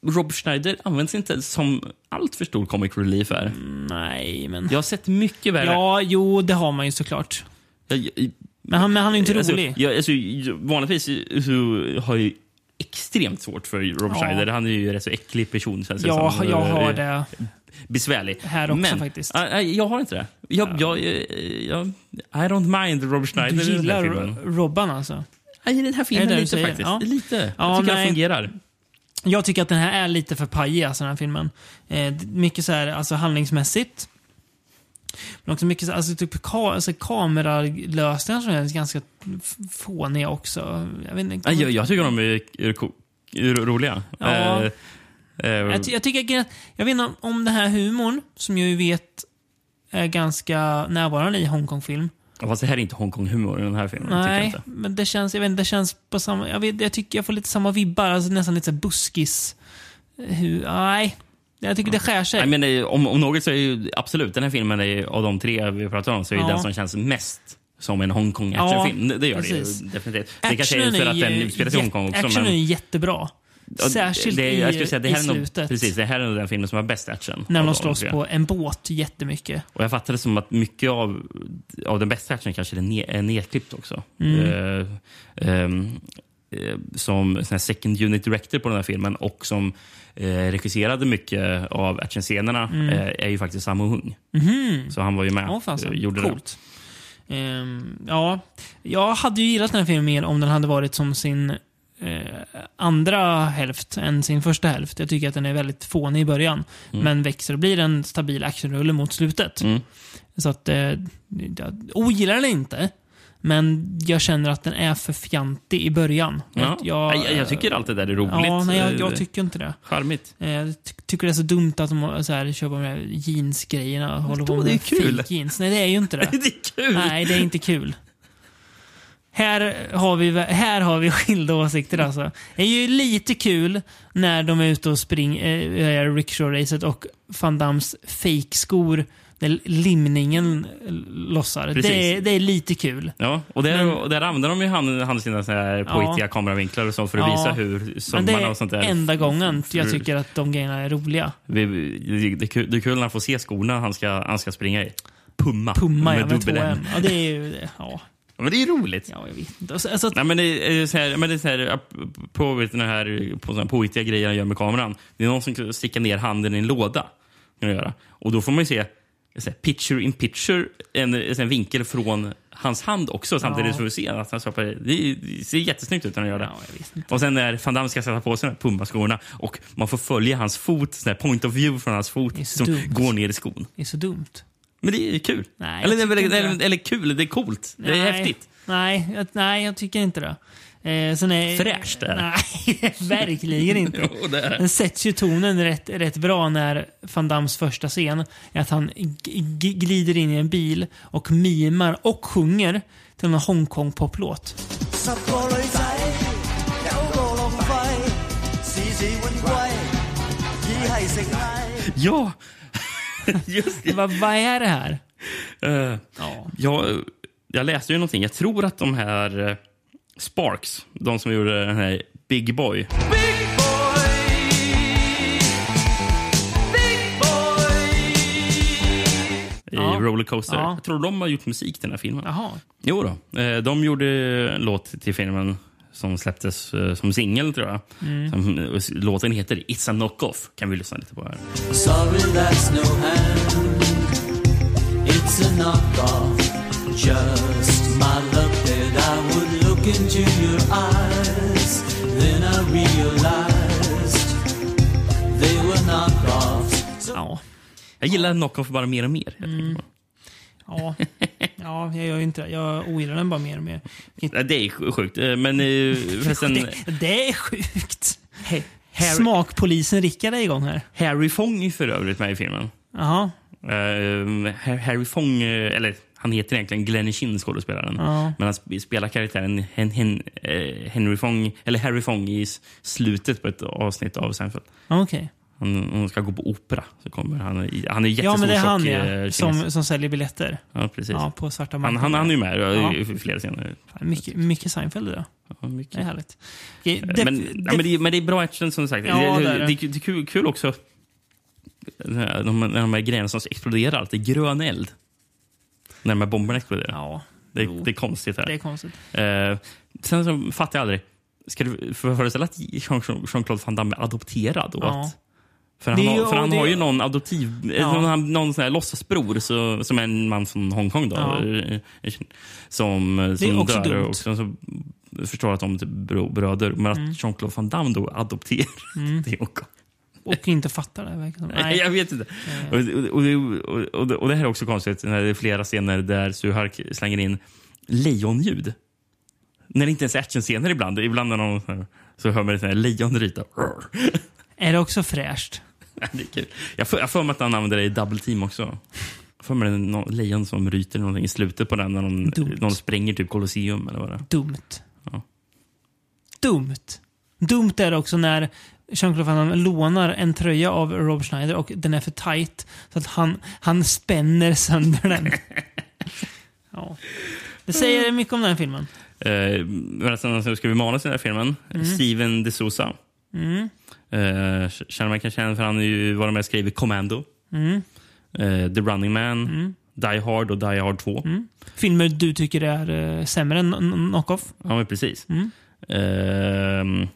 Rob Schneider används inte som allt för stor comic relief här.
Mm. Nej, men...
Jag har sett mycket värre.
Ja, jo, det har man ju såklart.
Jag- jag-
Men han, men han är ju inte
alltså,
rolig.
Jag, alltså, jag- vanligtvis så har jag ju extremt svårt för Rob
Ja.
Schneider. Han är ju en rätt så äcklig person. Känns det
Ja,
som.
jag har
Eh,
det.
Besvärlig.
Här också
Men,
faktiskt.
ah, ah, jag har inte det. Jag, jag, eh, jag, I don't mind Rob Schneider
Du
i den
gillar
här filmen.
Ro- Robban alltså?
Jag gillar den här
Är
filmen
det det du
lite
säger?
faktiskt.
Ja.
Lite.
Ja,
jag tycker
nej.
den fungerar.
Jag tycker att den här är lite för pajig, alltså den här filmen. Eh, d- mycket så här, alltså handlingsmässigt. Men också mycket så, alltså, typ, ka, alltså, kameralösningar som är ganska f- fåniga också. Jag, vet inte,
Ja, Jag, jag tycker de är är ko- är ro- roliga.
Ja.
Eh, eh,
jag, ty- jag tycker att- jag vet inte om- om den här humorn, som jag ju vet är ganska närvarande i Hongkongfilm.
Fast det här är inte Hongkong-humor i den här filmen. tycker jag
Nej,
inte.
men det känns, jag vet inte, det känns på samma, jag, vet, jag tycker jag får lite samma vibbar, alltså nästan lite så här buskis. eh, Hu, nej, jag tycker det skär sig.
Nej, men det är- om, om något så är ju absolut, den här filmen är, ju- av de tre vi pratar om, så är
Ja.
ju den som känns mest som en Hongkong-actionfilm. Det- det gör
precis.
det ju definitivt. Det kanske är för att den utspelar sig i
jätte-
Hongkong också.
Actionen
men-
är ju jättebra.
Ja, det-
Särskilt
det,
i,
jag skulle säga, det här
i
är nog,
slutet.
Precis, det här är nog den filmen som har bäst action.
När
av
de
de
slåss
tre.
på en båt jättemycket.
Och jag fattade som att mycket av, av den bästa action kanske är, ne- är nedklippt också.
Mm.
Eh, ehm, eh, som sån här second unit director på den här filmen och som eh, regisserade mycket av actionscenerna
Mm.
eh, är ju faktiskt Sammo Hung.
Mhm.
Så han var ju med
Ja, fasen.
och gjorde
Coolt. Ehm, ja, jag hade ju gillat den här filmen mer om den hade varit som sin eh, andra hälft än sin första hälft. Jag tycker att den är väldigt fånig i början,
Mm.
men växer och blir en stabil actionrulle mot slutet.
Mm.
Så att, eh, jag ogillar den inte, men jag känner att den är för fjantig i början.
det. Ja.
Jag,
Jag, jag tycker allt det där är roligt. Eh,
Ja, nej, jag, jag tycker inte det.
Charmigt.
Eh, Jag ty- tycker det är så dumt att de så här, kör på de här jeansgrejerna och håller på
då,
med
det är
de här
kul.
fake-jeans. Nej, det är ju inte det.
det är kul!
Nej, det är inte kul. Här har vi, här har vi skilda
Mm.
åsikter alltså. Det är ju lite kul när de är ute och springer, eh, rickshaw-racet och Van Dams fake-skor där limningen lossar.
Precis.
Det är, det är lite kul.
Ja, och där,
Men-
och där använder de ju hand- hand sina så här poetiga kameravinklar och så för att
Ja.
visa hur
Men det
sömmarna och sånt
är
där...
enda gången jag
för-
tycker att de grejerna är roliga.
Vi, det, det, är kul- det är kul när han får se skorna han ska, han ska springa i. Pumma.
Pumma ja, med
dubbel
två M.
M.
Ja, det är ju det. Ja.
Ja, Men det är ju roligt.
Ja, jag vet inte. Alltså, alltså,
Nej, men det är så här, men det är så här på vet du, den här, på såna här poetiga grejer han gör med kameran. Det är någon som sticker ner handen i en låda. Kan göra. Och då får man ju se så här, picture in picture, en, en vinkel från hans hand också samtidigt
Ja.
som vi ser att han stoppar i. det. Det ser jättesnyggt ut när han gör det.
Ja, jag vet inte.
Och sen när van Damme ska sätta på sig de här pumbaskorna och man får följa hans fot, sån här point of view från hans
Det är
fot
så
som
dumt.
går ner i skon.
Det är så dumt.
Men det är ju kul.
Nej,
eller,
jag tycker
eller,
inte
eller,
det.
eller kul, det är coolt. Det är
Nej.
häftigt.
Nej, jag, nej, jag tycker inte det. Eh, sen är,
Fräscht är det.
Nej, verkligen inte.
Jo, det är det.
Den sätts ju tonen rätt, rätt bra när van Dams första scen är att han g- g- glider in i en bil och mimar och sjunger till en Hongkong-poplåt.
十個女仔。
Ja! Just det.
Vad, vad är det här?
Eh, jag, jag läste ju någonting. Jag tror att de här eh, Sparks, de som gjorde den här Big Boy. i
Ja.
Rollercoaster.
Ja.
Jag tror de har gjort musik till den här filmen.
Jaha.
Jo då. Eh, De gjorde en låt till filmen som släpptes eh, som singel, tror jag.
Mm.
Som, eh, låten heter It's a knock-off. kan vi lyssna lite på här.
Sorry, that's no hand. It's a knockoff. Just my luck that I would look into your eyes. Then I realized they were knockoffs.
Ja. Jag gillar knock-off bara mer och mer.
Mm. Ja. ja, jag gör ju inte det. Jag ogillar den bara mer och mer.
Ja, Det är sj- sjukt. Eh, Men eh, förresten...
Det, det är sjukt! Smakpolisen Rickard är igång här.
Harry Fong är för övrigt med i filmen.
Jaha.
Eh, Har- Harry Fong, eh, eller han heter egentligen Glenn Chin, skådespelaren.
Ja.
Men han sp- spelar karaktären Hen, Hen, eh, Henry Fong, eller Harry Fong i s- slutet på ett avsnitt av Seinfeld.
Okej.
Han, hon ska gå på opera. Så kommer han, i- han är jättestor,
Ja, men det är han
tjock, eh,
ja,
kines.
som, som säljer biljetter.
Ja, precis.
Ja, på svarta
han,
marknaden.
han, han är ju med eh,
Ja.
i i flera scener.
Mycket, mycket Seinfeld idag.
Ja, mycket.
Det är härligt. Okej,
Men,
det-
ja, men, det, är- men det är bra action som sagt.
Ja,
det,
det är
det,
det.
det, är kul, kul också när de, när de här grejerna som exploderar, att det är grön eld. När de här bomberna exploderar. det,
jo.
det är konstigt. Här.
Det är konstigt.
Eh, sen så fattar jag aldrig. Ska du för- föreställa att Jean- Jean- Jean-Claude Van Damme är adopterad? Och
Ja.
att, för han,
Det är
har,
ju-
för han
det-
har ju någon adoptiv...
Ja.
Ja. Någon, någon sån här låtsasbror så, som är en man från Hongkong. Då,
Ja.
eh, eh, Som,
Det är
som
också
dör
dumt.
och sen så förstår att de är typ bro- bröder. Men
Mm.
att Jean-Claude Van Damme då adopterar
Mm.
det är också...
Och inte fattar det verkar som.
Nej. Jag vet inte. Och, och, och, och, och det här är också konstigt. När det är flera scener där Suhark slänger in lejonljud. När det inte ens är actionscener ibland. Ibland när någon, så här- så hör man ett sånt här lejon ryta.
Är det också fräscht?
Det är kul. Jag får jag får mig att han använder det i double team också. Jag får mig det är någon lejon som ryter någonting i slutet på den när någon,
Dumt.
någon spränger typ Colosseum eller vad det är.
Dumt.
Ja.
Dumt. Dumt är det också när Jean-Claude Van Damme lånar en tröja av Rob Schneider och den är för tight. Så att han, han spänner sönder den. ja. Det säger mycket om den här filmen.
Eh, men sen så ska vi manus i den här filmen.
Mm.
Steven de Sousa.
Mm.
Eh, känner man kanske igen för han har ju varit med och skrivit Commando.
Mm.
Eh, The Running Man, Die Hard och Die Hard 2.
Mm. Filmer du tycker är eh, sämre än kn- Knock-Off?
Ja, men precis.
Mm.
Ehm,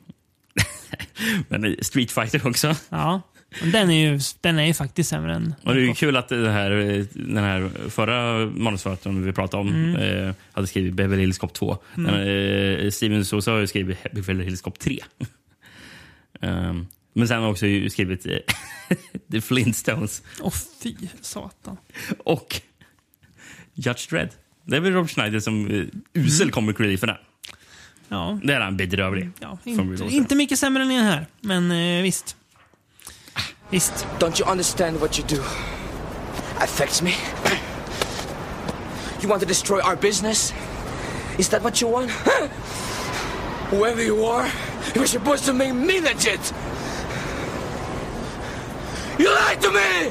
men Street Fighter också.
Ja. Men Den är, ju, den är ju faktiskt sämre än
Och det är ju kul att det här, den här förra manusförfattaren vi pratade om
Mm.
eh, hade skrivit Beverly Hills Cop 2.
Mm.
Men, eh, Steven Sosa har ju skrivit Beverly Hills Cop 3. Ehm, men sen har han också ju skrivit eh, The Flintstones
Åh fy satan.
och Judge Dredd. Det är väl Rob Schneider som eh,
Mm.
usel comic relief för den.
Ja.
Det är han bedrövlig.
Ja,
får vi
inte,
då säga.
inte mycket sämre än den här, men eh, visst. Visst.
Don't you understand what you do? Affects me? You want to destroy our business? Is that what you want? Huh? Whoever you are, you're supposed to make me legit! You lied to me!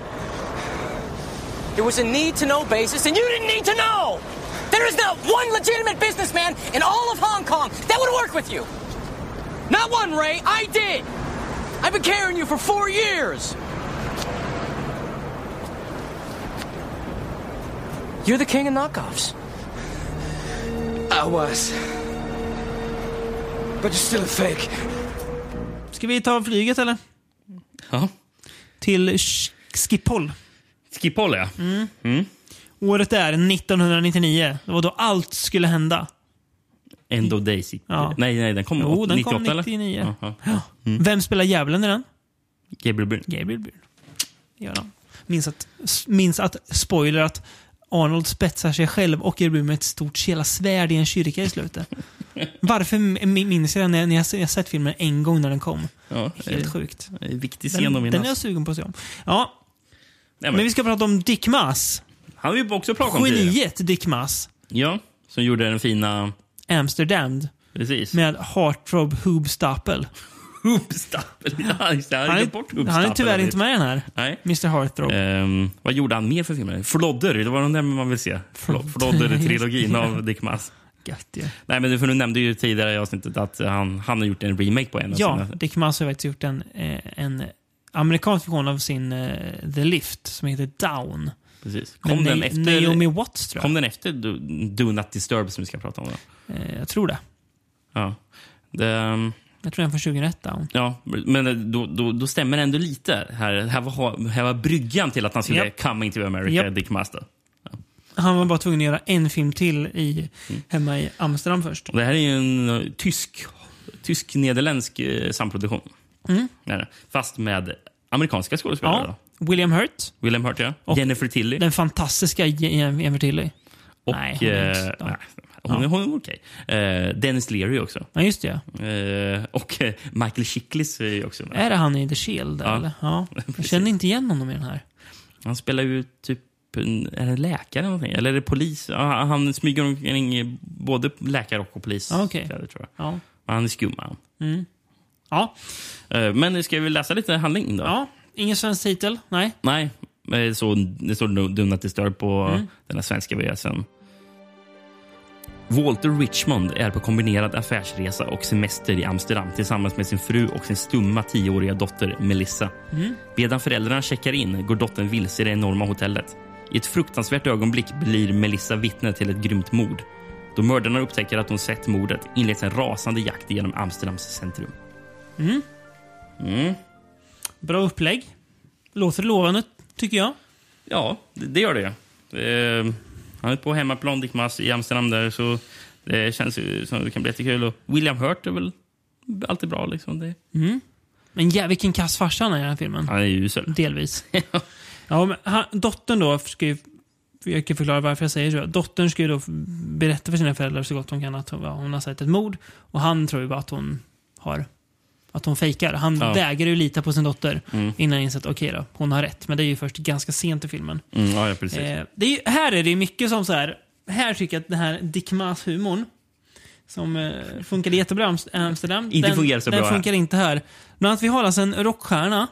There was a need to know basis, and you didn't need to know! There is not one legitimate businessman in all of Hong Kong that would work with you! Not one, Ray. I did. I've been carrying you for four years. You're the king of knockoffs. I was. But you're still a fake.
Ska vi ta flyget eller?
Ja.
Till Sch- Schiphol.
Schiphol, ja.
Mm.
Mm.
Året är 1999. Det var då allt skulle
Mm,
hända.
End of Days.
Ja.
Nej, nej, den kom
Jo, den
98
kom
eller? Mm.
99.
Jaha.
Vem spelar djävulen i den?
Gabriel Byrne.
Gabriel Byrne. Gör han. Minns att, s- minns att, spoiler, att Arnold spetsar sig själv och Gabriel Byrne med ett stort jävla svärd i en kyrka i slutet. Varför m- minns jag den när när jag, s- jag sett filmen en gång när den kom?
Ja,
Helt
eh,
sjukt.
eh, Viktig scen
Den,
att
den är jag
minnas.
sugen på att se om. Ja.
Nej,
men.
men-
vi ska prata om Dick Mass.
Han har vi också pratat om tidigare.
Geniet Dick Mass.
Ja, som gjorde den fina...
Amsterdam.
Precis.
Med Heartthrob Hoobstapel.
Hubstapel. Ja, just det, jag
Han
hade
är-
glömt bort
han är
Hubstapel.
tyvärr inte med i den här.
Nej.
Mr Heartthrob.
Ehm, vad gjorde han mer för filmer? Flodder, det var de där man vill se. Flo- Flodder-trilogin av Dick Mass.
Gött ja.
Nej, men för du nämnde ju tidigare i avsnittet att han, han har gjort en remake på en av
Ja,
sina...
Dick Maus har faktiskt gjort en, eh, en amerikansk version av sin eh, The Lift som heter Down.
Precis.
Men
Kom den
Na-
efter,
Naomi Watts tror jag.
Kom den efter Do, Do Not Disturb som vi ska prata om? Då?
Eh, jag tror det.
Ja. Det, ehm,
Jag tror den är från 2001, Down.
Ja, men då, då, då stämmer det ändå lite. Här, här, var, här var bryggan till att han skulle
Japp.
coming to America,
Japp.
Dick Master.
Han var bara tvungen att göra en film till i,
Mm.
hemma i Amsterdam först.
Och det här är ju en eh, tysk, tysk-nederländsk eh, samproduktion.
Mm.
Är det. Fast med amerikanska skådespelare.
Ja. William Hurt.
Då. William Hurt, ja.
Och
Jennifer Tilly.
Den fantastiska Jen- Jennifer Tilly.
och,
Nej,
hon
hon
är,
är
eh,
inte- ja.
nej, hon, är- hon är okej. Eh, Dennis Leary också.
Ja, just det.
Eh, och eh, Michael Chiklis är ju också med.
Är det han i The Shield?
Ja.
Eller? Ja. Jag känner inte igen honom i den här.
Han spelar ju typ en- är det läkare eller någonting? Eller är det polis? Ja, han- han smyger omkring både läkare och polis.
Ja, okej.
kläder, tror jag.
Ja.
Men han är skum han.
Mm. Ja.
Eh, Men ska vi läsa lite handling då?
ja. Ingen svensk titel? Nej.
Nej, eh, så det står Do Do Not Disturb på
Mm.
den här svenska VHSen. Walter Richmond är på kombinerad affärsresa och semester i Amsterdam tillsammans med sin fru och sin stumma tioåriga dotter Melissa.
Mm.
Medan föräldrarna checkar in går dottern vilse i det enorma hotellet. I ett fruktansvärt ögonblick blir Melissa vittne till ett grymt mord. Då mördarna upptäcker att hon sett mordet inleds en rasande jakt genom Amsterdams centrum.
Mm.
Mm.
Bra upplägg. Låter lovande, tycker jag.
Ja, det, det gör det. Eh, han är på hemmaplan, Dick Mass, i Amsterdam där, så det känns ju som det kan bli jättekul. Och William Hurt är väl alltid bra. Liksom. Det,
Mm. Men ja, vilken kass farsa han är i den här filmen.
han är ju usel.
Delvis. ja, men han, dottern då ska ju... Jag kan förklara varför jag säger så. Dottern ska ju då berätta för sina föräldrar så gott hon kan att hon, ja, hon har sett ett mord. Och han tror ju bara att hon har... Att hon fejkar. Han
Ja.
vägrar ju lita på sin dotter
Mm.
innan han insett okej då, hon har rätt. Men det är ju först ganska sent i filmen.
Mm, ja, ja, precis.
Eh, det är ju, här är det ju mycket som så här. Här tycker jag att den här Dick Maas-humorn som eh, funkade jättebra i Amst- Amsterdam.
Inte
den,
fungerar så
den
bra här.
funkar inte här. Bland annat vi har alltså en rockstjärna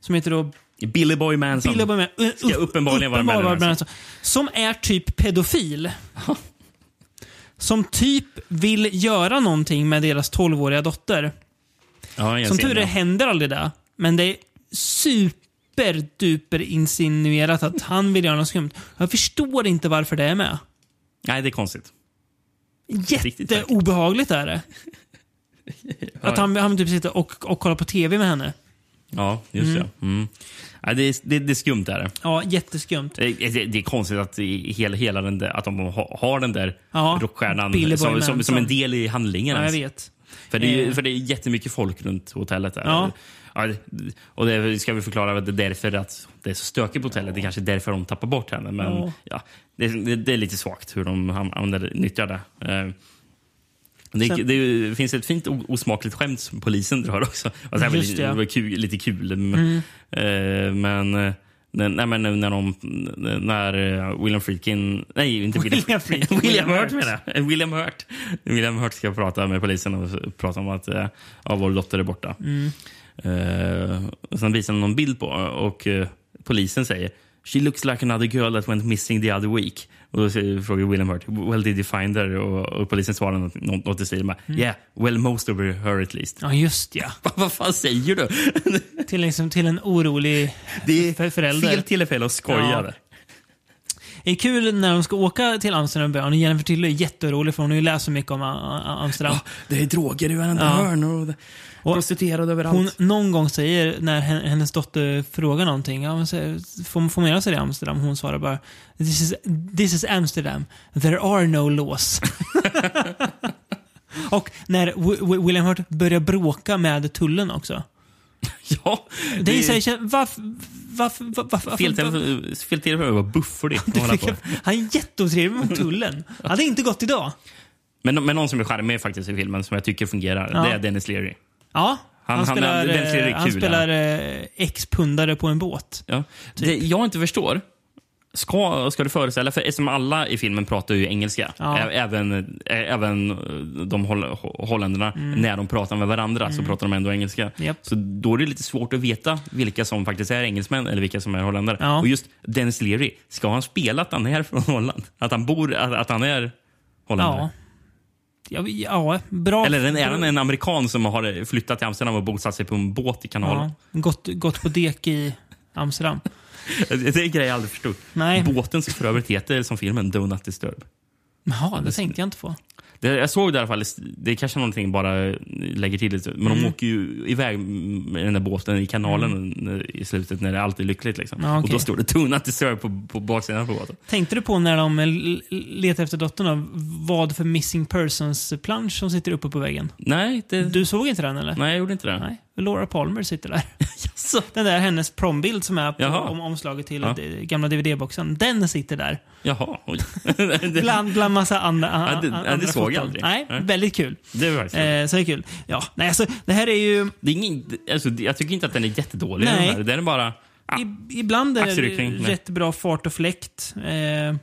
som heter då
Billy Boy Manson.
Billy Boy Man- eh,
Ska
upp-
uppenbarligen vara med i den här
uppenbarligen Manson. Som är typ pedofil. som typ vill göra någonting med deras 12-åriga dotter.
Ja, jag
Som
ser
tur är
det.
händer aldrig det. Men det är superduper insinuerat att han vill göra något skumt. Jag förstår inte varför det är med.
Nej, det är konstigt.
Jätteobehagligt är det. Att han, han typ sitter och, och kollar på TV med henne.
Ja, just
Mm.
det. Mm. Ja, det, är, det, det är skumt. Där.
Ja, jätteskumt.
Det, det, det är konstigt att, i- hela, hela den där, att de ha- har den där
Ja, Billy
rockstjärnan
Boy
som, som,
Manson.
som en del i handlingen.
Ja, jag
ens.
vet.
För det, är, ju-
Eh.
för det är jättemycket folk runt hotellet. Där.
Ja.
Ja, det- och det ska vi förklara att det är därför att det är så stökigt på hotellet. Det är kanske är därför de tappar bort henne. Men
Ja.
ja. det, det, det är lite svagt hur de an- använder, nyttjar det. Eh, Det,
Sen-
det är ju- finns ett fint o- osmakligt skämt som polisen drar också. Och så här,
Just det, Mm.
det
ja.
var kul, lite kul. Men, eh, men, eh, nej, men nu när, de, när eh, William Friedkin... Nej, inte William,
William Friedkin.
William
William
Hurt menar jag. Eh, William Hurt. William Hurt ska prata med polisen och prata om att eh, ja, vår dotter är borta.
Mm.
Eh, och sen visar de någon bild på och eh, polisen säger She looks like another girl that went missing the other week. Och då säger- frågar William Hurt, well did you find her? Och, och polisen svarar något, något något i stil med,
Mm.
yeah, well most of her at least.
Ja, just ja.
Vad fan säger du?
till, liksom, till en orolig för- förälder.
Fel tillfälle att skoja.
Ja.
där.
Det är kul när de ska åka till Amsterdam i början. Jennifer Tilly är jätteorolig för hon har ju läst så mycket om A- A- Amsterdam.
Det är droger i varenda
Ja.
hörn och, och prostituerade överallt.
Hon någon gång säger, när hen- hennes dotter frågar någonting, ja, men säger, får, får man göra sig det i Amsterdam? Hon svarar bara this is, this is Amsterdam. There are no laws. Och när Wi- Wi- William Hurt börjar bråka med tullen också.
ja,
Det är, det... Varför, varför, varför, varför,
fel tillfälle- fel tillfälle att vara bufflig.
Han är jätteotrevlig mot tullen. Han är inte gått idag.
Men, men någon som är charmig faktiskt i filmen, som jag tycker fungerar,
Ja.
det är Dennis Leary.
Ja, han,
Han- han-
spelar,
den ser
eh,
riktigt
han
kul
spelar eh, ex-pundare på en båt.
Ja. Det jag inte förstår ska, ska du föreställa, för eftersom alla i filmen pratar ju engelska,
Ja.
ä- även, ä- även de holl, ho- holländarna,
Mm.
när de pratar med varandra så
Mm.
pratar de ändå engelska.
Japp.
Så då är det lite svårt att veta vilka som faktiskt är engelsmän eller vilka som är holländare.
Ja.
Och just Dennis Leary, ska han spela att han är från Holland? Att han bor, att, att han är holländare?
Ja. Ja, vi- ja, bra.
Eller är han en amerikan som har flyttat till Amsterdam och bosatt sig på en båt i kanalen?
ja, gått, gått på dek i Amsterdam.
Eh, Det är en grej jag aldrig förstod.
Nej.
Båten som för övrigt heter som filmen Do Not Disturb.
Jaha, det tänkte jag inte på.
Det, jag såg det i alla fall. Det är kanske någonting jag bara lägger till lite. Men de
Mm.
åker ju iväg med den där båten i kanalen i slutet när allt är lyckligt. Liksom.
Ja, okej.
Och då står det Do Not Disturb på, på baksidan på båten.
Tänkte du på när de eh, l- letade efter dottern då, vad för missing persons-plansch som sitter uppe på väggen?
Nej, det...
Du såg inte den eller?
Mm. Nej, jag gjorde inte det.
Nej. Laura Palmer sitter där. Den där hennes prombild som är på
Jaha.
om, omslaget till
Ja.
d- gamla DVD-boxen. Den sitter där.
Jaha, oj.
Bland, bland massa andra
Ja, det- ja, det
andra
såg jag
foton.
aldrig.
Nej,
Nej.
väldigt kul.
Det var faktiskt
Eh, så det är kul. Ja, nej, alltså, det här är ju...
det är ingen, alltså, jag tycker inte att den är jättedålig.
Nej.
Den, här. den är bara... Ah,
I, ibland är det
axelryckning.
rätt bra fart och fläkt. Eh,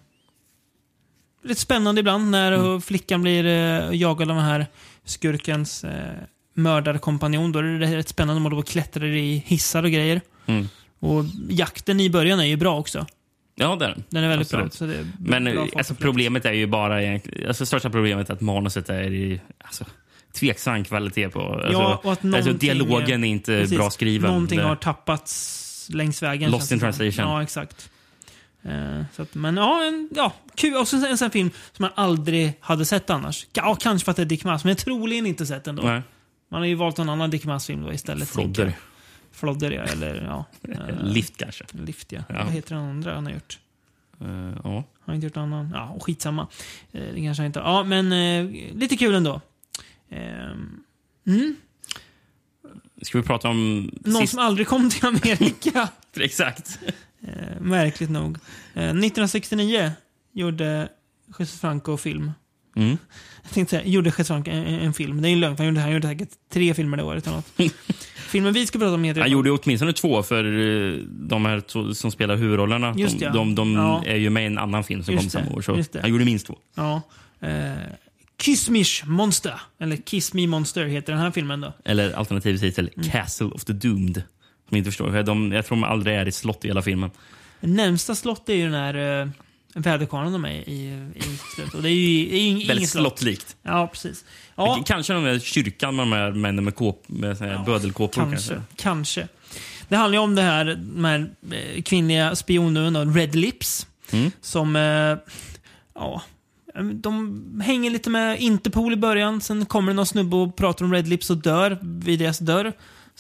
lite spännande ibland när
Mm.
eh, flickan blir eh, jagad av den här skurkens eh, mördarkompanjon. Då är det rätt spännande. De håller på och klättrar i hissar och grejer.
Mm.
Och jakten i början är ju bra också.
Ja, det är den.
Den är väldigt bra.
Absolut.
Så det är
Men
bra
eh,
fart och
alltså,
fläkt.
problemet är ju bara egentligen- alltså, största problemet är att manuset är i, alltså, tveksam kvalitet på. Alltså,
ja, och att
alltså,
någonting,
dialogen är inte
precis,
Eh, bra skriven.
Någonting
Det-
har tappats längs vägen.
Lost
känns
in
det som.
translation.
Ja, exakt. Eh, så att, men ja, en, ja kul. Och så en sån här film som man aldrig hade sett annars. Ja, kanske för att det är Dick Mass, men troligen inte sett ändå.
Nej.
Man har ju valt någon annan Dick Mass-film då istället.
Flodder.
tänker jag. Flodder, ja. Eller ja. eh,
Lift kanske.
Lift, ja.
Ja.
Vad heter den andra han har gjort?
Eh, ja.
Har inte gjort någon annan? Ja, och skitsamma. Eh, det kanske han inte har. Ja, men eh, lite kul ändå. Ehm, mm.
Ska vi prata om...
Någon
sist-
som aldrig kom till Amerika.
Exakt.
Eh, märkligt nog. Eh, 1969 gjorde Jesus Franco film.
Mm.
Jag tänkte säga, gjorde Jesus Franco en, en film. Det är ju lögn, för han gjorde, han gjorde säkert tre filmer det året eller något. Filmen vi ska prata om heter...
Han gjorde ju åtminstone två, för eh, de här två som spelar huvudrollerna
Just
de,
ja.
de, de
Ja.
är ju med i en annan film som
Just
kom
det.
samma år. Så
Just det.
han gjorde minst två.
Ja. Eh, Kiss Mish Monster. Eller Kiss Me Monster heter den här filmen då.
Eller alternativ titel,
Mm.
Castle of the Doomed. Som jag inte förstår. För De, jag tror de aldrig är i ett slott i hela filmen.
Närmsta slott är ju den här eh, väderkvarnen de är i. i, i slottet. och det är ju det är ju ing-
Väldigt
inget slott.
slottlikt.
Ja, precis. Ja,
Kanske de där kyrkan med de här männen med, kåp, med såna här bödelkåpor.
Kanske. kanske. Det handlar ju om det här, de här eh, kvinnliga spionen och Red Lips.
Mm.
Som, eh, ja, de hänger lite med Interpol i början. Sen kommer det någon snubbe och pratar om Red Lips och dör vid deras dörr.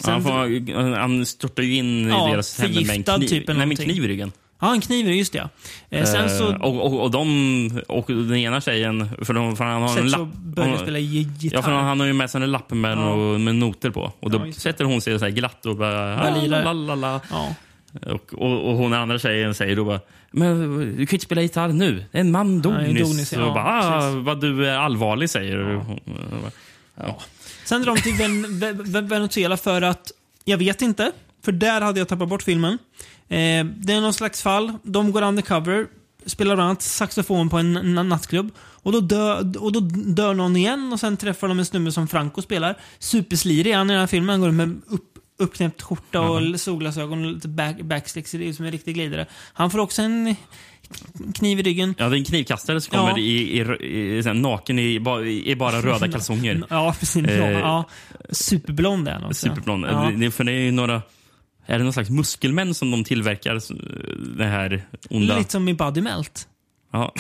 Sen,
han, får, han störtar ju in i
Ja,
deras händer med en
förgiftad
kniv,
typ eller
nej, med en
någonting.
kniv i ryggen.
Ja, han kniver, just det. ja. Eh, sen så...
Eh, och, och, och, de, och den ena tjejen, för, de, för han har en
Sen så
lapp.
börjar
hon-
spela gi- gitarr.
Ja, för han, han har ju med sig en lapp med,
Ja.
och, med noter på. Och då
Ja, just det.
sätter hon sig så här glatt och bara...
Börjar
"Ah,
lira.
la, la, la."
Ja.
Och, och, och hon andra tjejen säger då bara Men du kan ju inte spela gitarr nu. En man dog
Ja, dog
nyss.
nyss,
Och
ja,
bara, ah,
precis.
vad du är allvarlig säger hon. Ja.
Sen drar de till Ven- Ven- Ven- Venezuela för att, jag vet inte, för där hade jag tappat bort filmen. Eh, det är någon slags fall, de går undercover, spelar bland annat saxofon på en na- nattklubb. Och då, dö, och då dör någon igen och sen träffar de en snubbe som Franco spelar. Superslirig är han i den här filmen, han går med upp, uppknäppt skjorta och solglasögon och lite back, backslicks, ser ut som en riktig glidare. Han får också en kniv i ryggen.
Ja, det är en knivkastare som kommer
Ja.
i, i, i, så här, naken i, ba- i bara röda kalsonger.
Ja, precis.
Eh,
ja, superblond är han också.
Superplan.
Ja.
Det- Det, för det är ju några... Är det någon slags muskelmän som de tillverkar s- det här onda...
Lite som i Body Melt.
Ja.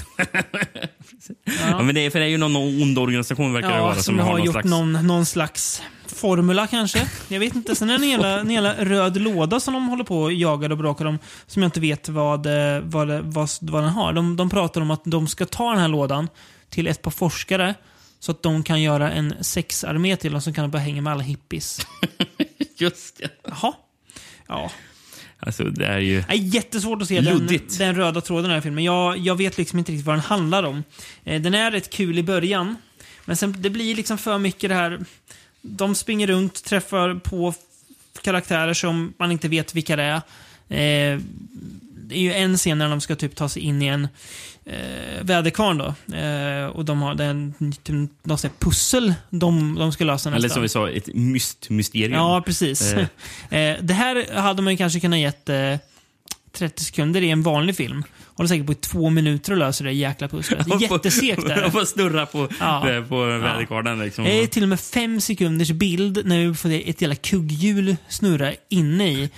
ja, men det är, för det är ju någon ond organisation verkar det vara som,
har,
har någon
gjort
slags...
någon, någon slags formula kanske. Jag vet inte. Sen är det en jävla, en jävla röd låda som de håller på och jagar och bråkar om. Som jag inte vet vad, eh, vad, det- vad, vad den har. De, de pratar om att de ska ta den här lådan till ett par forskare. Så att de kan göra en sexarmé till dem som kan börja hänga med alla hippies.
Just det.
Jaha. Ja.
Alltså, det är ju...
Nej, jättesvårt att se den,
Luddigt.
den röda tråden i den här filmen. Jag, jag vet liksom inte riktigt vad den handlar om. Eh, den är rätt kul i början. Men sen, det blir liksom för mycket det här... De springer runt, träffar på f- karaktärer som man inte vet vilka det är. Eh, det är ju en scen när de ska typ ta sig in i en eh, väderkvarn då. Eh, och de har den, typ, något sånt här pussel de, de ska lösa
Eller som vi sa, ett myst mysterium.
Ja, precis.
Eh.
Eh, det här hade man ju kanske kunnat gett eh, 30 sekunder i en vanlig film. Håller säkert på i två minuter och löser det jäkla pusslet. Det är jättesegt
Jag
där.
får snurra på,
Ja.
eh, på väderkvarnen. Liksom.
Det är till och med fem sekunders bild när vi får se ett jävla kugghjul snurra inne i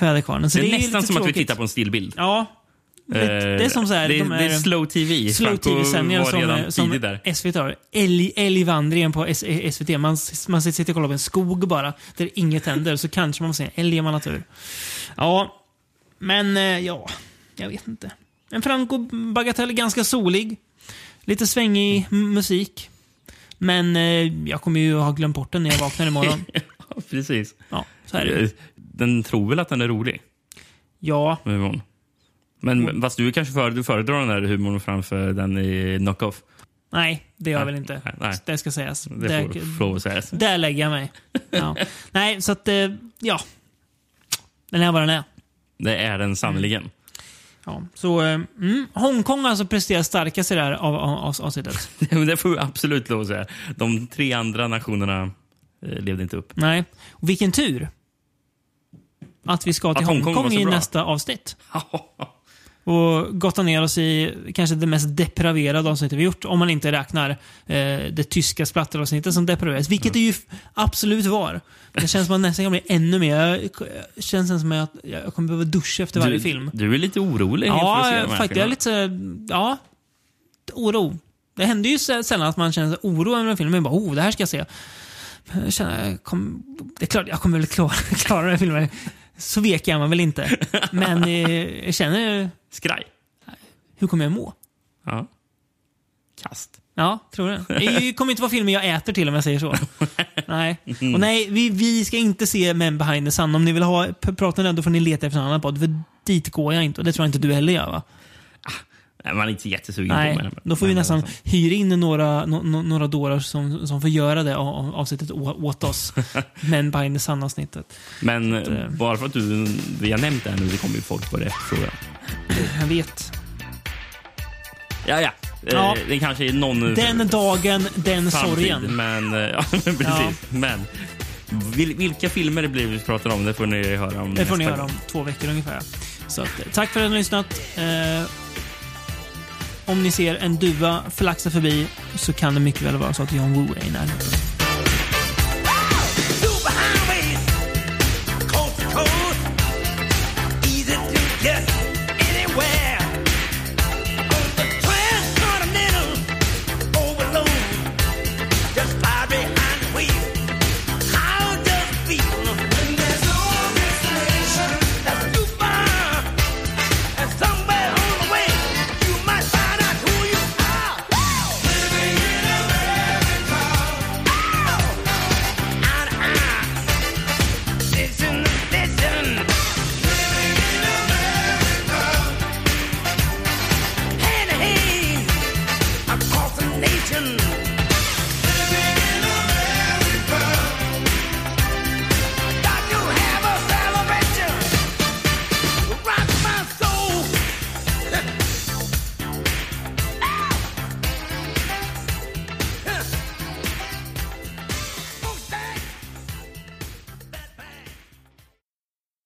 väderkvarnen. Så
det är,
ju
nästan
lite
som att vi
tråkigt.
tittar på en stillbild.
Ja. Det, det är som så här,
Eh, det, är-
de är,
det är slow TV.
Slow
Franco
TV-sändningar
var redan
som, som
tidig där.
SVT har. Älg- Älgvandringen på S- SVT. Man, s- man sitter och kollar på en skog bara, där inget händer. Så kanske man får se en älg om man har tur. Ja, men eh, ja, jag vet inte. En Franco Bagatell är ganska solig. Lite svängig
Mm.
m- musik. Men eh, jag kommer ju ha glömt bort den när jag vaknar imorgon.
Ja, Precis. Eh,
Ja, så är det.
Den tror väl att den är rolig?
Ja,
med humorn. Men
Mm.
fast du kanske föredrar, du föredrar den där humorn framför den i Knock-Off?
nej, det gör jag
Nej,
väl inte.
nej, nej.
Det ska sägas.
Det får- får lov att sägas.
Där lägger jag mig. Ja. Nej, så att, eh, ja. Den är vad den är.
Det är den sannerligen.
Ja, så, eh, mm. Hongkong alltså presterar starkast i det här av, av, av, avsnittet.
Men det får vi absolut lov att säga. De tre andra nationerna eh, levde inte upp.
Nej, och vilken tur att vi ska till
Att Hongkong
Hongkong,
var så
i
bra.
nästa avsnitt. och gotta ner oss i kanske det mest depraverade avsnittet vi gjort. Om man inte räknar eh, det tyska splatteravsnittet som depraverades. Vilket det ju f- absolut var. Det känns som att nästa gång blir ännu mer. Jag, jag känns som att jag kommer behöva duscha efter varje
du,
film.
Du är lite orolig inför att se de
Ja,
här
faktiskt. Jag är
filmerna.
lite så här- Ja. Oro. Det händer ju sä- sällan att man känner oro över en film. Men bara, oh, det här ska jag se. Men jag känner, jag kom, det är klart, jag kommer väl klara, klara den här filmen. Så vek är man väl inte. Men eh, jag känner,
Skraj.
hur kommer jag må?
Ja. Kast.
Ja, tror det. Det kommer inte vara filmer jag äter till om jag säger så. nej. Och nej, vi, vi ska inte se Men behind the sun. Om ni vill ha p- prata om det, då får ni leta efter en annan podd. För dit går jag inte. Och det tror jag inte du heller gör, va?
Nej, man är inte så jättesugen
Nej,
på det. men-
då får vi
men-
nästan hyra in några, no, no, några dårar som, som får göra det av- av- avsnittet å- åt oss. Men behind the sun-avsnittet.
Men eh, bara för att du, vi har nämnt det här nu, det kommer ju folk börja efterfråga.
Jag vet.
Ja, ja.
Ja.
ja. Det kanske är någon...
Den dagen, den
framtid,
sorgen.
Men, eh, ja, precis.
Ja.
Men vil, vilka filmer det blir vi pratar om, det får ni höra om
Det får ni
nästa
höra om
gång.
två veckor ungefär. ja. Så att, eh, tack för att ni har lyssnat. Eh, om ni ser en duva flaxa förbi så kan det mycket väl vara så att John Woo är i närheten.
Superhighways, coast to coast, easy to get anywhere. On the transcontinental overload, just fly behind the wheel. How does it feel when there's no destination? That's too far, and somewhere on the way you might find out who you are. Living in America. Listen, listen. Living in America. Hand to hand across the nation.